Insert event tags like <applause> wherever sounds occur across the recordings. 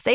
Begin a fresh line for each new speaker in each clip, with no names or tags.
Say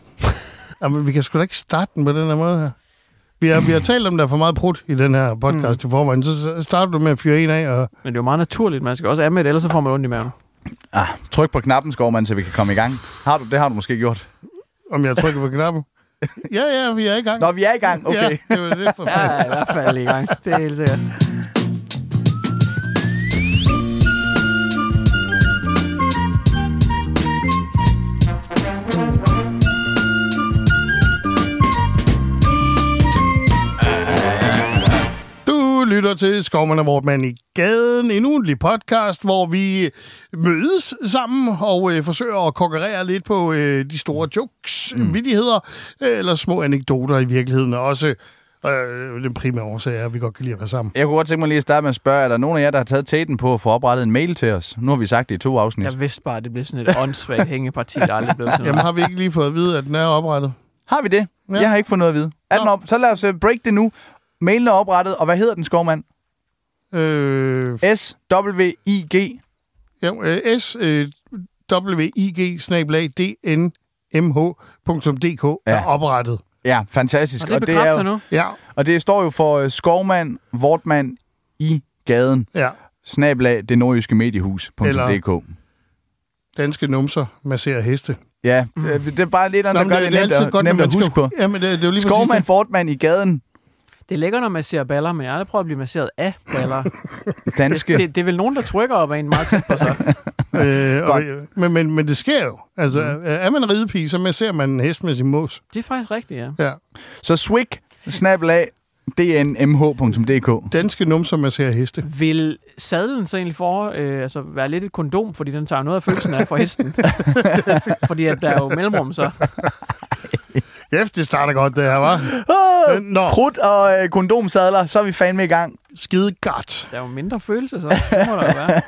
Jamen, vi kan sgu da ikke starte den på den her måde her. Vi har, vi har talt om, der er for meget brudt i den her podcast mm. i forvejen. Så- Så starter du med at fyre en af, og
Men det er jo meget naturligt. Man skal også af med det, ellers så får man ondt i maven.
Ah, tryk på knappen, Skovmand, så vi kan komme i gang. Har du, det har du måske gjort.
om jeg trykker på knappen. Ja, ja, vi er i gang.
Nå, vi er i gang. Okay.
Ja, det var det for
Ja,
fanden.
i hvert fald i gang. Det er helt sikkert.
Du lytter til Skovman og Vortmann i gaden, en ugentlig podcast, hvor vi mødes sammen og øh, forsøger at konkurrere lidt på øh, de store jokes, mm. vidigheder øh, eller små anekdoter i virkeligheden. Og også øh, den primære årsag er, at vi godt kan lide at være sammen.
Jeg kunne godt tænke mig lige at starte med at spørge, er der nogen af jer, der har taget tæten på at få oprettet en mail til os? Nu har vi sagt det i to afsnit.
Jeg vidste bare, at det blev sådan et åndssvagt hængeparti, der aldrig blev sådan
Jamen
noget.
har vi ikke lige fået at vide, at den er oprettet?
Har vi det?
Ja.
Ja. Jeg har ikke fået noget at vide. Er den op? Så lad os øh, break det nu. Mailen er oprettet, og hvad hedder den, Skovmand?
Øh,
S-W-I-G.
ja, øh, s øh, w i g d n m hdk er
Ja.
oprettet.
Ja, fantastisk.
Og det
er,
bekræfter
jo-
nu.
Ja,
og det står jo for øh, Skovmand, Vortmand i gaden.
ja.
Snablag, det nordjyske mediehus.dk.
Eller- Danske numser masserer heste.
Ja, øh, det, det er bare lidt andet,
Mm. Nå,
der
men
gør det, nemt, at, nemt
når
at
man
huske
skal-
på.
Jamen, det, det er jo lige
Skovmand,
præcis
Fortmand i gaden.
Det er lækkert, når man ser baller, men jeg har aldrig prøvet at blive masseret af
<laughs>
baller.
Danske.
<laughs>
Det, det, det er vel nogen, der trykker op af en meget tæt på sig.
det. Øh, og, men, men, men det sker jo. Altså, mm. er man ridepige, så masserer man en hest med sin mos.
Det er faktisk rigtigt, ja.
Ja.
Så swig, snablag, dnmh.dk.
Danske numser masserer heste.
Vil sadlen så egentlig for, øh, altså være lidt et kondom, fordi den tager jo noget af følelsen af for
<laughs>
hesten? fordi at der er jo mellemrum så.
Ja, det starter godt, det her,
<laughs>
var.
Oh,
Nå,
prut og øh, kondomsadler, så er vi fandme i gang.
skide godt.
Der er jo mindre følelse så. Det må der jo være.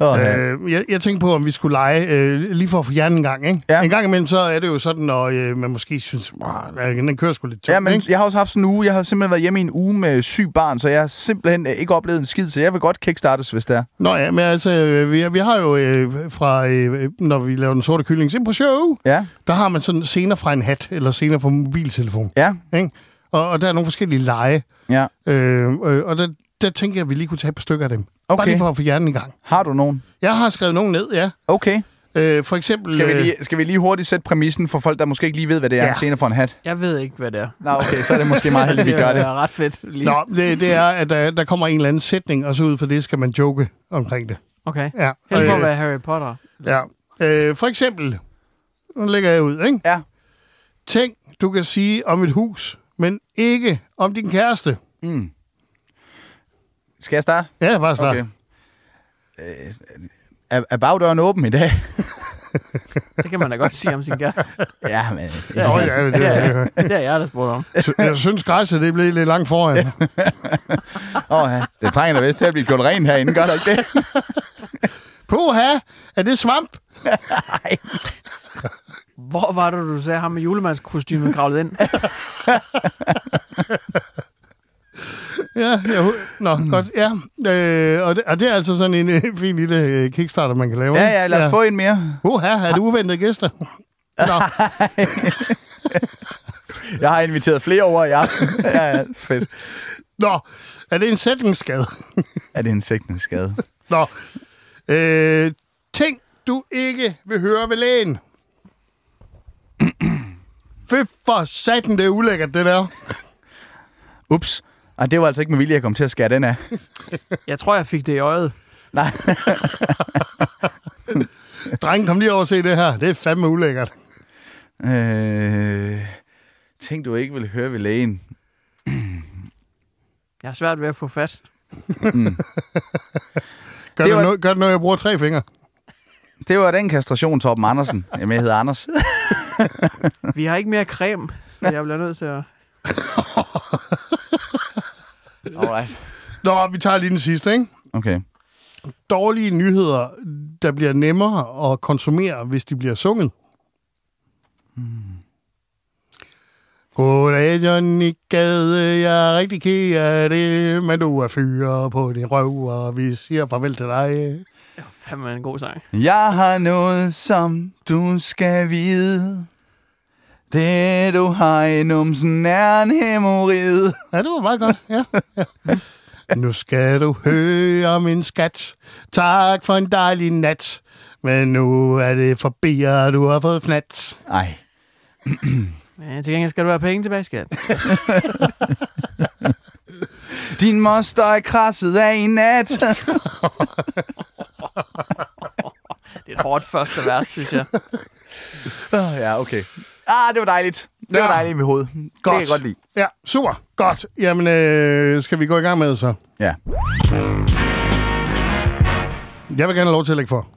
Oh, ja.
Øh, jeg, jeg tænkte på, om vi skulle lege, øh, lige for at få hjernen en gang, ikke?
Ja.
En gang imellem, så er det jo sådan, at øh, man måske synes, "Åh, den kører sgu lidt tungt,
ja, men
ikke?
jeg har også haft sådan en uge. Jeg har simpelthen været hjemme i en uge med syg barn, så jeg har simpelthen øh, ikke oplevet en skid, så jeg vil godt kickstartes, hvis det er.
Nå ja, men altså, øh, vi, vi har jo øh, fra, øh, når vi laver den sorte kylling, ind på show,
Ja,
der har man sådan scener fra en hat, eller scener fra en mobiltelefon.
ja,
Ikke? Og, og der er nogle forskellige lege.
ja.
Øh, øh, og der, der tænker jeg, at vi lige kunne tage et par stykker af dem. Bare
Okay.
lige for at få hjernen i gang.
Har du nogen?
Jeg har skrevet nogen ned, ja.
Okay.
Øh, for eksempel...
Skal vi,
øh,
lige, skal vi lige hurtigt sætte præmissen for folk, der måske ikke lige ved, hvad det er,
Ja.
ja. senere for en hat?
Jeg ved ikke, hvad det er.
Nå, okay, så er det måske meget heldigt, vi gør
Det
det.
er ret fedt. Lige.
Nå, det, det er, at der, der kommer en eller anden sætning, og så ud for det skal man joke omkring det.
Okay.
Ja.
Helt for at
Øh,
være Harry Potter.
ja. Øh, for eksempel... Nu lægger jeg ud, ikke?
<laughs> Ja.
Ting, du kan sige om et hus, men ikke om din kæreste.
Skal jeg starte?
Ja, bare snart.
Okay.
Okay.
er, er bagdøren åben i dag?
Det kan man da godt sige om sin
<laughs>
kæreste.
<laughs> ja, men...
Nå, ja, det,
Det er,
det,
det er jeg, der spurgte om.
Jeg synes, græsset det blev lidt langt foran.
<laughs> Åh, ja. Det trænger da vist til at blive gjort rent herinde, gør det ikke det?
Puha, er det svamp?
Hvor var det, du sagde ham med julemandskostymet kravlet ind?
Ja, jeg, hu- nå, mm. godt, ja. Øh, og, det, og det er altså sådan en øh, <laughs> fin lille øh, kickstarter, man kan lave.
<laughs> Ja,
ikke?
ja, lad os ja. få en mere.
Puha, er det uventede gæster? <laughs> nå,
Jeg har inviteret flere over i aften. <laughs> ja, ja, fedt.
nå, er det en sætningsskade?
Er det insektens skade?
Nå, øh, ting du ikke vil høre ved lægen. <clears throat> Fy for satan, det er ulækkert, det der.
Ups. Ej, det var altså ikke med vilje, jeg kom til at skære den af.
Jeg tror, jeg fik det i øjet.
Nej,
Drengen, kom lige over og se det her. Det er fandme ulækkert.
Øh, ting, du ikke vil høre ved lægen.
Jeg har svært ved at få fat.
Gør
Det
det,
var-
var... noget, gør det noget, jeg bruger tre fingre?
Det var den kastration, Torben Andersen. Jamen, jeg hedder Anders.
Vi har ikke mere creme, så jeg bliver nødt til at...
Alright.
Nå, vi tager lige den sidste, ikke?
Okay.
Dårlige nyheder, der bliver nemmere at konsumere, hvis de bliver sunget. Goddag, Johnny Gade, jeg er rigtig ked af det, men du er fyre på din røv, og vi siger farvel til dig.
Det var fandme en god sang.
Jeg har noget, som du skal vide. Det, du har i numsen, er en hemorrid.
Ja, det var meget godt. Ja. ja. Nu skal du høre min skat. Tak for en dejlig nat. Men nu er det forbi, og du har fået fnat.
Ej.
Men til gengæld skal du have penge tilbage, skat.
Din moster er krasset af i <laughs> nat.
Det er et hårdt første vers, synes jeg.
Åh, ja, okay. Ah, det var dejligt. Det var
Ja.
dejligt i mit hoved. Det kan jeg godt lide.
Ja, super. Godt. Jamen, øh, skal vi gå i gang med det så?
Ja.
Jeg vil gerne have lov til at lægge for.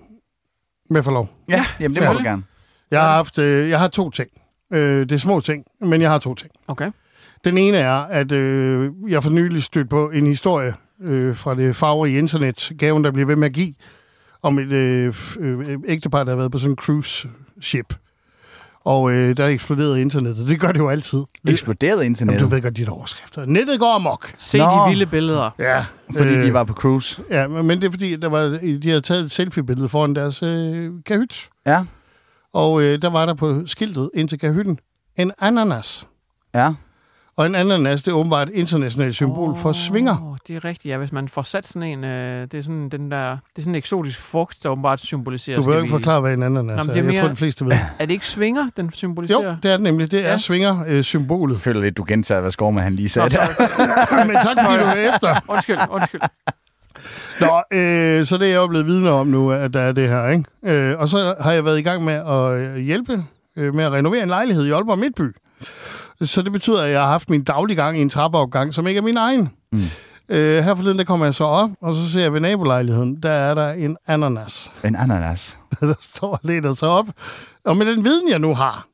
Med forlov.
Ja, jamen det må
Ja.
du gerne.
Jeg har, haft, øh, jeg har to ting. Øh, det er små ting, men jeg har to ting.
Okay.
Den ene er, at øh, jeg for nylig stødte på en historie øh, fra det farverige internet, gaven, der bliver ved med at give, om et øh, f- øh, ægtepar, der har været på sådan en cruise ship. Og øh, der eksploderede internettet. Det gør det jo altid.
Eksploderede
Jamen, du
internettet,
ved godt dit overskrifter. Nettet går amok.
Se
Nå.
Nå. de vilde billeder.
Ja,
fordi
øh,
de var på cruise.
Ja, men det er fordi, der var, de havde taget et selfie-billede foran deres øh, kahyt.
Ja,
Og øh, der var der på skiltet ind til kahytten en ananas.
ja.
Og en ananas, det er åbenbart et internationalt symbol oh. for svinger.
Åh, det er rigtigt, ja. Hvis man får sat sådan en... Øh, det er sådan den der... Det er sådan en eksotisk frugt, der åbenbart symboliserer...
Du
skal
behøver ikke
vi-
forklare, hvad en ananas
Nå,
Nå,
men
er.
det er
Jeg
mere-
tror, de fleste ved.
Er <laughs> det ikke svinger, den
Jo,
symboliserer?
det er det nemlig. Det er øh,
Ja.
ja. svinger-symbolet.
<laughs>
Jeg føler lidt, du gentager, hvad Skorman han lige sagde der.
men tak, fordi du er efter.
Undskyld, undskyld.
Nå, øh, så det er jeg jo blevet vidne om nu, at der er det her. Ikke? Øh, og så har jeg været i gang med at øh, hjælpe øh, med at renovere en lejlighed i Aalborg Midtby. Så det betyder, at jeg har haft min daglige gang i en trappeopgang, som ikke er min egen. Mm. Øh, her forleden, der kommer jeg så op, og så ser jeg ved nabolejligheden, der er der en ananas. <laughs>
En ananas.
der står og leder sig op. Og med den viden, jeg nu har,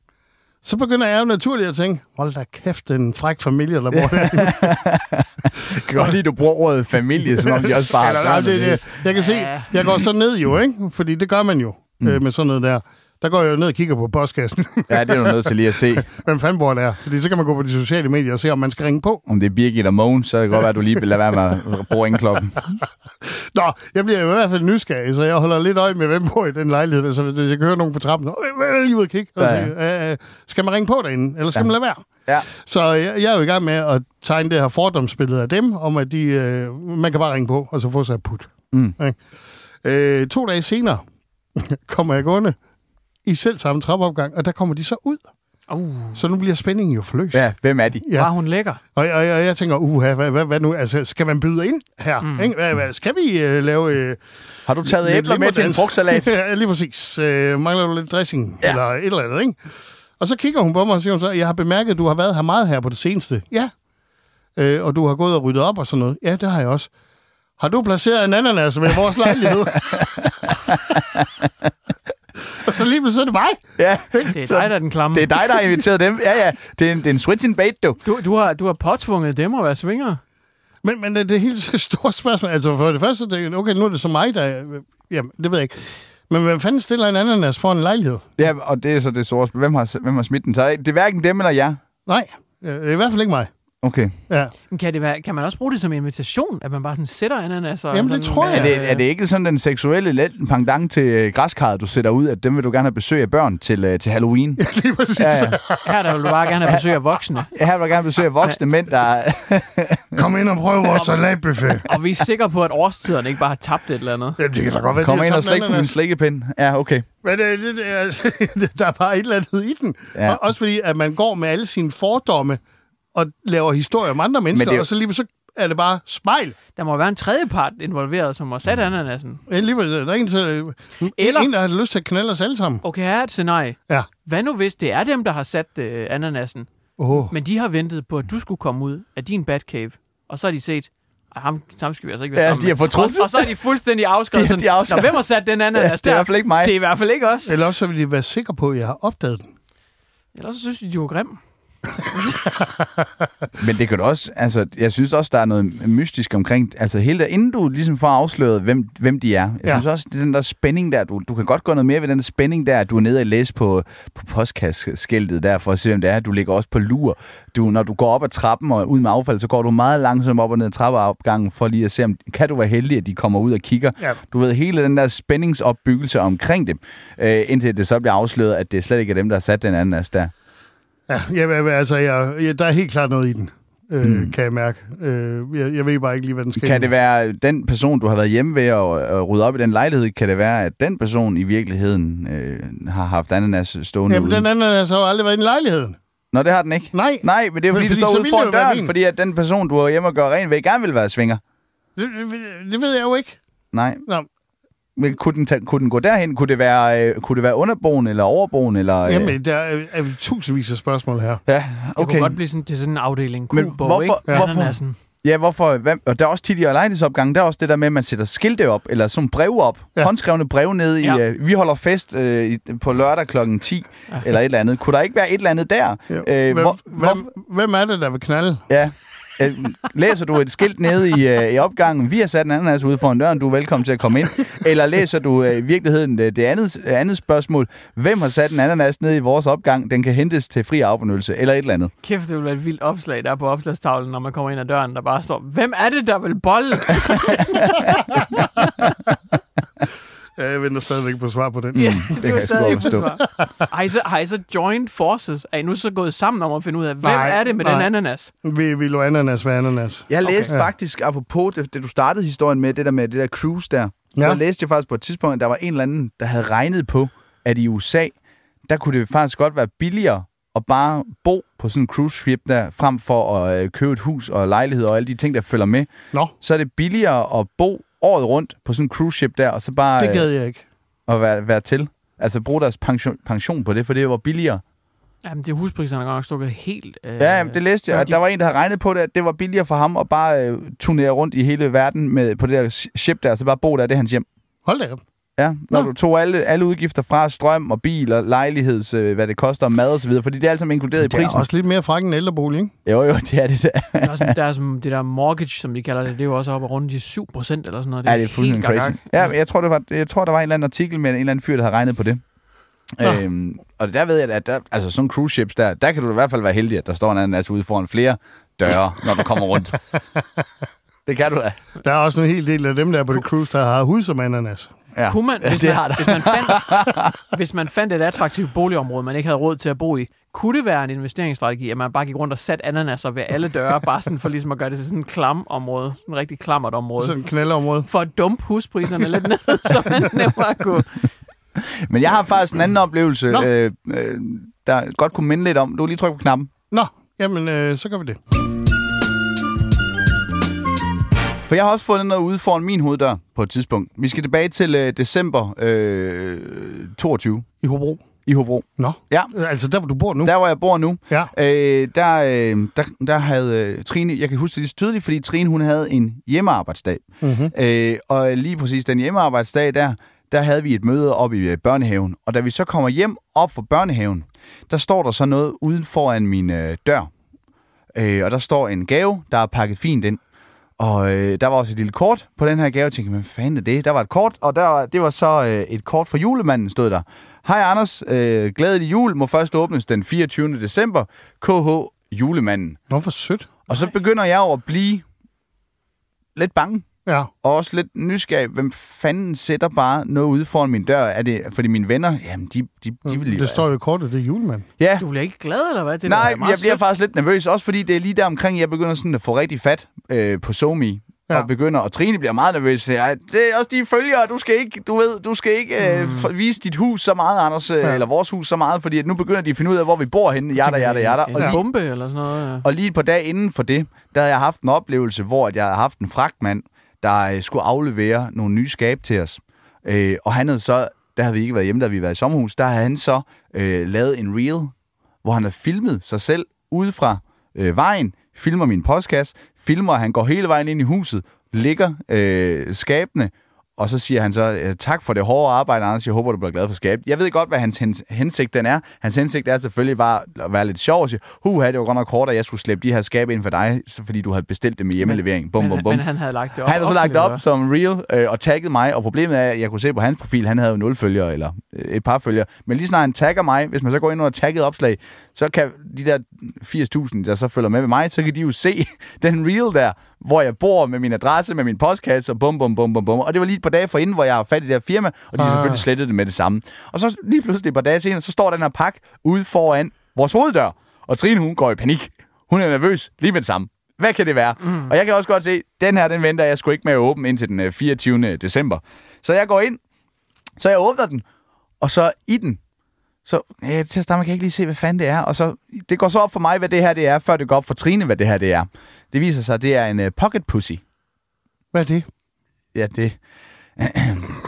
så begynder jeg jo naturligt at tænke, hold da kæft, det er en fræk familie, der bor der.
Jeg kan godt lide, du bruger ordet familie, som om de også bare har
Eller, nej,
børn
det,
med
det, jeg kan se,
Ja.
jeg går så ned jo, ikke? Fordi det gør man jo mm. øh, med sådan noget der. Der går jeg jo ned og kigger på postkassen.
Ja, det er du nødt til lige at se.
<laughs> Hvem fanden bor der? Fordi så kan man gå på de sociale medier og se, om man skal ringe på.
Om det er Birgit og Mogen, så kan det godt være, at du lige vil lade være med at bruge ringklokken.
Nå, jeg bliver i hvert fald nysgerrig, så jeg holder lidt øje med, hvem bor i den lejlighed. Altså, hvis jeg kan høre nogen på trappen, "Øh, øh, lige ud og kigge. Og
Ja,
sige, øh, skal man ringe på derinde, eller skal ja. man lade være?
Ja.
Så jeg, jeg er jo i gang med at tegne det her fordomsbillede af dem, om at de, øh, man kan bare ringe på, og så få sig et put.
Mm.
Okay. Øh, to dage senere <laughs> kommer jeg gående i selv samme trappeopgang, og der kommer de så ud.
Uh,
Så nu bliver spændingen jo forløst.
ja, hvem er de?
Ja.
var hun lækker?
Og, og, og jeg tænker, uha, hvad, hvad, hvad nu? Altså, skal man byde ind her? Mm. Ikke? Hvad, hvad, skal vi øh, lave... Øh,
Har du taget
lidt
æbler med til en
limbodans?
frugtsalat?
<laughs> ja, lige præcis. Øh, mangler du lidt dressing? Ja. Eller et eller andet, ikke? Og så kigger hun på mig og siger hun så, jeg har bemærket, at du har været her meget her på det seneste. Ja. Øh, og du har gået og ryddet op og sådan noget. Ja, det har jeg også. Har du placeret en ananas ved vores lejlighed? <laughs> Og så lige pludselig så er det mig.
<laughs> Ja,
Det er
så-
dig, der er den klamme.
det er dig, der har inviteret dem. Ja, ja. Det er en, det er en switch in bait, du.
Du, du, har, du har påtvunget dem at være svinger.
Men, men det, det er helt <laughs> så stort spørgsmål. Altså for det første, det, er- okay, nu er det så mig, der... Jamen, det ved jeg ikke. Men hvem fanden stiller en ananas for en lejlighed?
Ja, og det er så det sorte. Hvem har, hvem har smidt den? Så det er hverken dem eller jer.
Nej, øh, det er i hvert fald ikke mig.
Okay.
Ja. <laughs>
Men kan, det være, kan man også bruge det som invitation, at man bare sådan sætter ananas? Og
Jamen, det
sådan, øh,
tror
med-
jeg.
Er det, er det ikke sådan den seksuelle let- pendant til øh, græskarret, du sætter ud, at dem vil du gerne have besøg af børn til, øh, til Halloween?
Lige præcis.
Ja,
Ja,
ja.
Her der vil du bare gerne have besøg af
<laughs>
voksne.
Her vil du gerne besøge voksne mænd, der...
Kom ind og prøv vores salatbuffet.
Og vi er sikre på, at årstiderne ikke bare har tabt et eller andet.
Jamen, det kan da godt være,
Kom
det er
ind og
tabt
slik på min
ananas.
slikkepind. Ja, okay.
Men det, det, det, altså, der er <laughs> bare et eller andet i den.
Ja.
Ja. Og, også fordi, at man går med alle sine fordomme og laver historier om andre mennesker,
det er jo-
og så lige så er det bare spejl.
Der må være en tredje part involveret, som har
Mm.
sat ananasen.
Alligevel, der er en, til,
Eller-
eller... en, der har lyst til at knalde os alle sammen.
Okay, her er et scenarie.
Ja.
Hvad nu hvis det er dem, der har sat øh, ananasen,
Oh.
men de har ventet på, at du skulle komme ud af din Batcave, og så har de set, at ham, ham skal vi altså ikke være
Ja,
sammen
de har
med."
fortrudt.
Og, og så er de
<laughs>
fuldstændig
De-
afskrevet.
de er
sådan,
afskrevet.
"Nå, hvem har sat den ananas
Ja, det er
der?
i hvert fald ikke mig."
Det er i hvert fald ikke os.
Eller også så vil de være sikre på, at jeg har opdaget den.
Ellers så synes de, de var grim.
Men det kan du også, altså, jeg synes også, der er noget mystisk omkring, altså hele der, inden du ligesom får afsløret, hvem, hvem de er. Jeg ja.
Ja.
synes også, det er den der spænding der, du, du kan godt gå noget mere ved den der spænding der, at du er nede og læse på, på postkasseskiltet der, for at se, hvem det er. Du ligger også på lur. Du, når du går op ad trappen og ud med affald, så går du meget langsomt op og ned ad trappeopgangen, for lige at se, om kan du være heldig, at de kommer ud og kigger.
Ja.
Du ved, hele den der spændingsopbyggelse omkring dem, øh, indtil det så bliver afsløret, at det slet ikke er dem, der har sat den anden der.
Ja, jeg, jeg, altså, jeg, jeg, der er helt klart noget i den, øh, mm. kan jeg mærke. Øh, jeg, jeg ved bare ikke lige, hvad den skal.
Kan det være øh, den person, du har været hjemme ved og, og rydde op i den lejlighed, kan det være, at den person i virkeligheden øh, har haft ananas stående
Jamen,
ude?
den anden har så aldrig været i lejligheden.
Nå, det har den ikke.
Nej.
Nej, men det er fordi, fordi det
Men fordi så
står ude
ville
foran
det jo være
døren,
min.
fordi at den person, du har hjemme og gøre rent ved, gerne vil være svinger.
Det, det, det ved jeg jo ikke.
Nej.
Nå,
Men kunne den, tage, kunne den gå derhen? Kunne det være, øh, kunne det være underboen eller overboen? Eller, øh,
jamen, der er, er tusindvis af spørgsmål her.
ja,
Det
okay.
kunne godt blive sådan, det er sådan en afdeling.
Men
Kuborg,
hvorfor-
ikke?
ja.
Ananasen.
Ja, hvorfor? Hvad, og der er også tit i lejlighedsopgangen, der er også det der med, at man sætter skilte op, eller sådan breve op, ja.
Ja.
håndskrevne breve ned i, ja.
Ja.
øh, vi holder fest øh, i- på lørdag kl. 10, ja. eller et eller andet. Kunne der ikke være et eller andet der?
Ja. Øh, hvem, hvor, hvem, hvem er det, der vil knalde?
ja. Øh, Læser du et skilt nede i, øh, i opgangen, vi har sat en anden altså ude foran døren, du er velkommen til at komme ind. Eller læser du øh, i virkeligheden øh, det andet, øh, andet spørgsmål, hvem har sat en ananas nede i vores opgang, den kan hentes til fri afbenyttelse, eller et eller andet.
Kæft, det ville være et vildt opslag, der er på opslagstavlen, når man kommer ind ad døren, der bare står, hvem er det, der vil bolle?
<laughs>
Ja, jeg venter stadigvæk på svar på den.
Ja,
det kan jeg sgu godt forstå.
forsvar. Har I, så, har I så joined forces? Er I nu så gået sammen om at finde ud af, hvem
Nej,
er det med den
nej.
ananas?
Vil, vil du ananas være ananas?
Jeg læste
Ja.
faktisk, apropos det, det, du startede historien med, det der med det der cruise der, ja.
Ja.
der læste jeg faktisk på et tidspunkt, at der var en eller anden, der havde regnet på, at i USA, der kunne det faktisk godt være billigere at bare bo på sådan en cruise ship der, frem for at øh, købe et hus og lejlighed og alle de ting, der følger med.
Nå,
Så er det billigere at bo året rundt på sådan en cruise ship der, og så bare
det gad jeg ikke.
øh, at være, være til. Altså bruge deres pension, pension på det, for det var billigere.
Jamen, det er huspriserne er godt nok stukket helt... Øh,
Ja, jamen, det læste jeg.
ja,
At
de-
der var en, der havde regnet på det, at det var billigere for ham at bare øh, turnere rundt i hele verden med, på det der sh- ship der, og så bare bo der, det er hans hjem.
Hold da op.
Ja, når
Nå.
du tog alle, alle udgifter fra strøm og bil og lejligheds, øh, hvad det koster, og mad og så videre, fordi det er alt sammen inkluderet i
Det er
prisen.
også lidt mere fræk end ældrebolig, ikke?
Jo, jo, det er det der.
Der er sådan, der er sådan, det der mortgage, som de kalder det, det er jo også oppe rundt de 7 procent eller sådan noget.
Ja, det er fuldstændig
helt
crazy.
gakgak.
Ja, men jeg tror, det var, jeg tror, der var en eller anden artikel med en eller anden fyr, der havde regnet på det.
Nå.
Øhm, og der ved jeg, at der, altså sådan cruise ships der, der kan du i hvert fald være heldig, at der står en anden altså ude foran flere døre, når du kommer rundt. det kan du da.
Der er også en hel del af dem, der er på det cruise, der har hud som ananas.
Ja.
Kunne man, hvis,
det
man,
har der.
hvis, man fandt, hvis man fandt et attraktivt boligområde, man ikke havde råd til at bo i, kunne det være en investeringsstrategi, at man bare gik rundt og satte ananaser ved alle døre, bare sådan for ligesom at gøre det til sådan en klam område, sådan en rigtig klammert område,
Sådan et knaldeområde.
for at dumpe huspriserne lidt ned, <laughs> så man nemmere kunne...
Men jeg har faktisk en anden oplevelse,
Nå.
øh, øh, der godt kunne minde lidt om. Du kan lige trykke på knappen.
Nå, jamen, øh, så gør vi det.
For jeg har også fundet noget ude foran min hoveddør på et tidspunkt. Vi skal tilbage til øh, december øh, 22
I Hobro.
i Hobro.
Nå.
Ja.
Altså, der hvor du bor nu.
Der, hvor jeg bor nu,
Ja.
øh, der, øh, der, der havde øh, Trine, jeg kan huske det lige så tydeligt,
Mhm.
fordi Trine hun havde en hjemmearbejdsdag. Mm-hmm. Øh, og lige præcis den hjemmearbejdsdag der, der havde vi et møde op i øh, børnehaven, og da vi så kommer hjem op fra børnehaven, der står der så noget uden foran min øh, dør. Øh, og der står en gave, der er pakket fint ind. Og øh, der var også et lille kort på den her gave. Jeg tænkte, hvad fanden er det? Der var et kort, og der var, det var så øh, et kort fra julemanden, stod der. Hej Anders, øh, glædelig jul, må først åbnes den 24. december. KH julemanden.
Nå, hvor sødt.
Og så begynder jeg jo at blive lidt bange.
Ja.
Og også lidt nysgerrig. Hvem fanden sætter bare noget ude foran min dør? Er det fordi mine venner? Jamen, de, de, de vil lige... altså.
Det står jo i kortet, det er julemand.
Ja,
Du bliver ikke glad, eller hvad? Det er da
Nej,
meget
jeg bliver
sødt.
faktisk lidt nervøs, også fordi det er lige der omkring, jeg begynder sådan at få rigtig fat øh, på Somi.
Ja.
Ja. Og begynder, og Trine bliver meget nervøs. siger, "Ej, Det er også de følgere, du skal ikke, du ved, du skal ikke øh,
Mm.
for- vise dit hus så meget, Anders, øh,
Ja.
ja. eller vores hus så meget, fordi at nu begynder de at finde ud af, hvor vi bor henne, jada, jada, jada. Og
En
lige,
bombe eller sådan noget. ja.
og lige et par dage inden for det, der havde jeg haft en oplevelse, hvor at jeg havde haft en fragtmand, der øh, skulle aflevere nogle nye skab til os. Øh, og han havde så, der havde vi ikke været hjemme, der havde vi været i sommerhus, der havde han så øh, lavet en reel, hvor han havde filmet sig selv ude fra øh, vejen, filmer min postkasse, filmer, at han går hele vejen ind i huset, ligger øh, skabene, og så siger han så, øh, tak for det hårde arbejde, Anders, jeg håber, du bliver glad for skabet. Jeg ved godt, hvad hans hens- hensigt den er. Hans hensigt er selvfølgelig bare at være lidt sjov og sige, huha, det var godt nok hårdt, at jeg skulle slæbe de her skabe ind for dig, så fordi du havde bestilt dem i hjemmelevering. Bum,
men,
bum, bum.
Men han havde lagt det op.
Han havde så lagt det
offentligt,
op som real øh, og tagget mig, og problemet er, at jeg kunne se på hans profil, han havde jo nul følgere, eller øh, et par følgere. Men lige snart han tagger mig, hvis man så går ind under tagget opslag, så kan de der 80.000, der så følger med med mig, så kan de jo se <laughs> den reel der, hvor jeg bor med min adresse, med min postkasse, og bum, bum, bum, bum, bum. Og det var lige et par dage forinden, hvor jeg har fat i det her firma, og de ah. selvfølgelig slettede det med det samme. Og så lige pludselig et par dage senere, så står den her pakke ude foran vores hoveddør, og Trine hun går i panik. Hun er nervøs lige med det samme. Hvad kan det være? Mm. Og jeg kan også godt se, den her, den venter jeg sgu ikke med at åbne indtil den øh, 24. december. Så jeg går ind, så jeg åbner den, og så i den, så øh, til at starte, med kan jeg ikke lige se, hvad fanden det er. Og så, det går så op for mig, hvad det her det er, før det går op for Trine, hvad det her det er. Det viser sig, at det er en øh, pocket pussy.
Hvad er det?
Ja, det, <clears throat>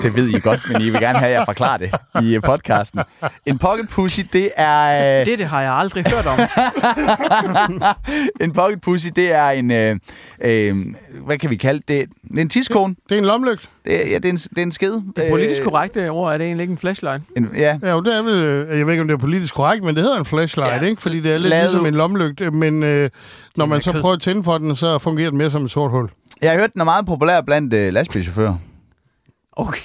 det ved I godt, men I vil gerne have, at jeg forklarer det i øh, podcasten. En pocket pussy, det er... øh,
hva'? Dette har jeg aldrig hørt om.
en pocket pussy, det er en, øh, øh, hvad kan vi kalde det? Det er en tiskone.
Det er en lomlygt.
Det, er- ja, det er en, det er en skede. Øh,
Det politisk korrekte ord er det egentlig ikke en flashlight.
En, ja,
Ja, jo, det er vel, øh, jeg ved ikke, om det er politisk korrekt, men det hedder en flashlight, ja,
Ja,
ikke? Fordi det er lidt
lad
ligesom
ud.
en lommelygte, men øh, når man
med
så
kød.
prøver at tænde for den, så fungerer den mere som et sort hul.
jeg har hørt, den er meget populær blandt øh, lastbilchauffører.
Okay.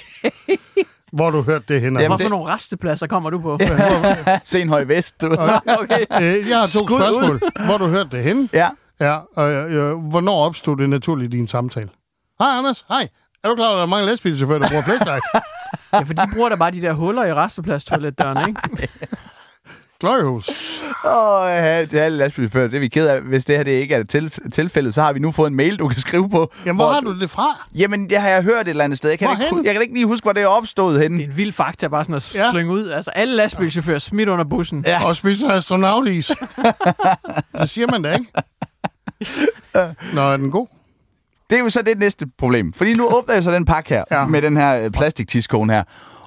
Hvor har du hørt det henne?
Jamen,
Hvorfor
det-
nogle restepladser kommer <laughs> du på?
Senhøj Vest, du ved.
<laughs> Okay.
Øh, jeg har to
Skud ud.
spørgsmål. Hvor har du hørt det henne?
Ja.
Ja, og øh, øh, hvornår opstod det naturligt i din samtale? Hej Anders, hej. Er du klar, over, at der er mange lastbilchauffører, der bruger
<laughs>
flashlight?
Ja, for de bruger da bare de der huller i restepladstoiletdøren, <laughs> ikke?
Gløjhus.
<laughs> Åh, ja, det er alle lastbilchauffører, det er vi ked af. Hvis det her det ikke er til, tilfældet, så har vi nu fået en mail, du kan skrive på.
Jamen, hvor har du det fra?
Jamen, det har jeg hørt et eller andet sted. Jeg kan, ikke,
Hvorhenne?
hu- jeg kan ikke lige huske, hvor det er opstået henne.
Det er en vild fakta bare sådan at
Ja.
ja. slynge ud. Altså, alle lastbilchauffører smidt under bussen. Ja.
Og spiser astronautis. det siger man da
<laughs>
ikke. Nå, er den god?
Det er jo så det næste problem. Fordi nu åbner jeg så den pakke her,
Ja.
ja. med den her øh, plastiktiskone her.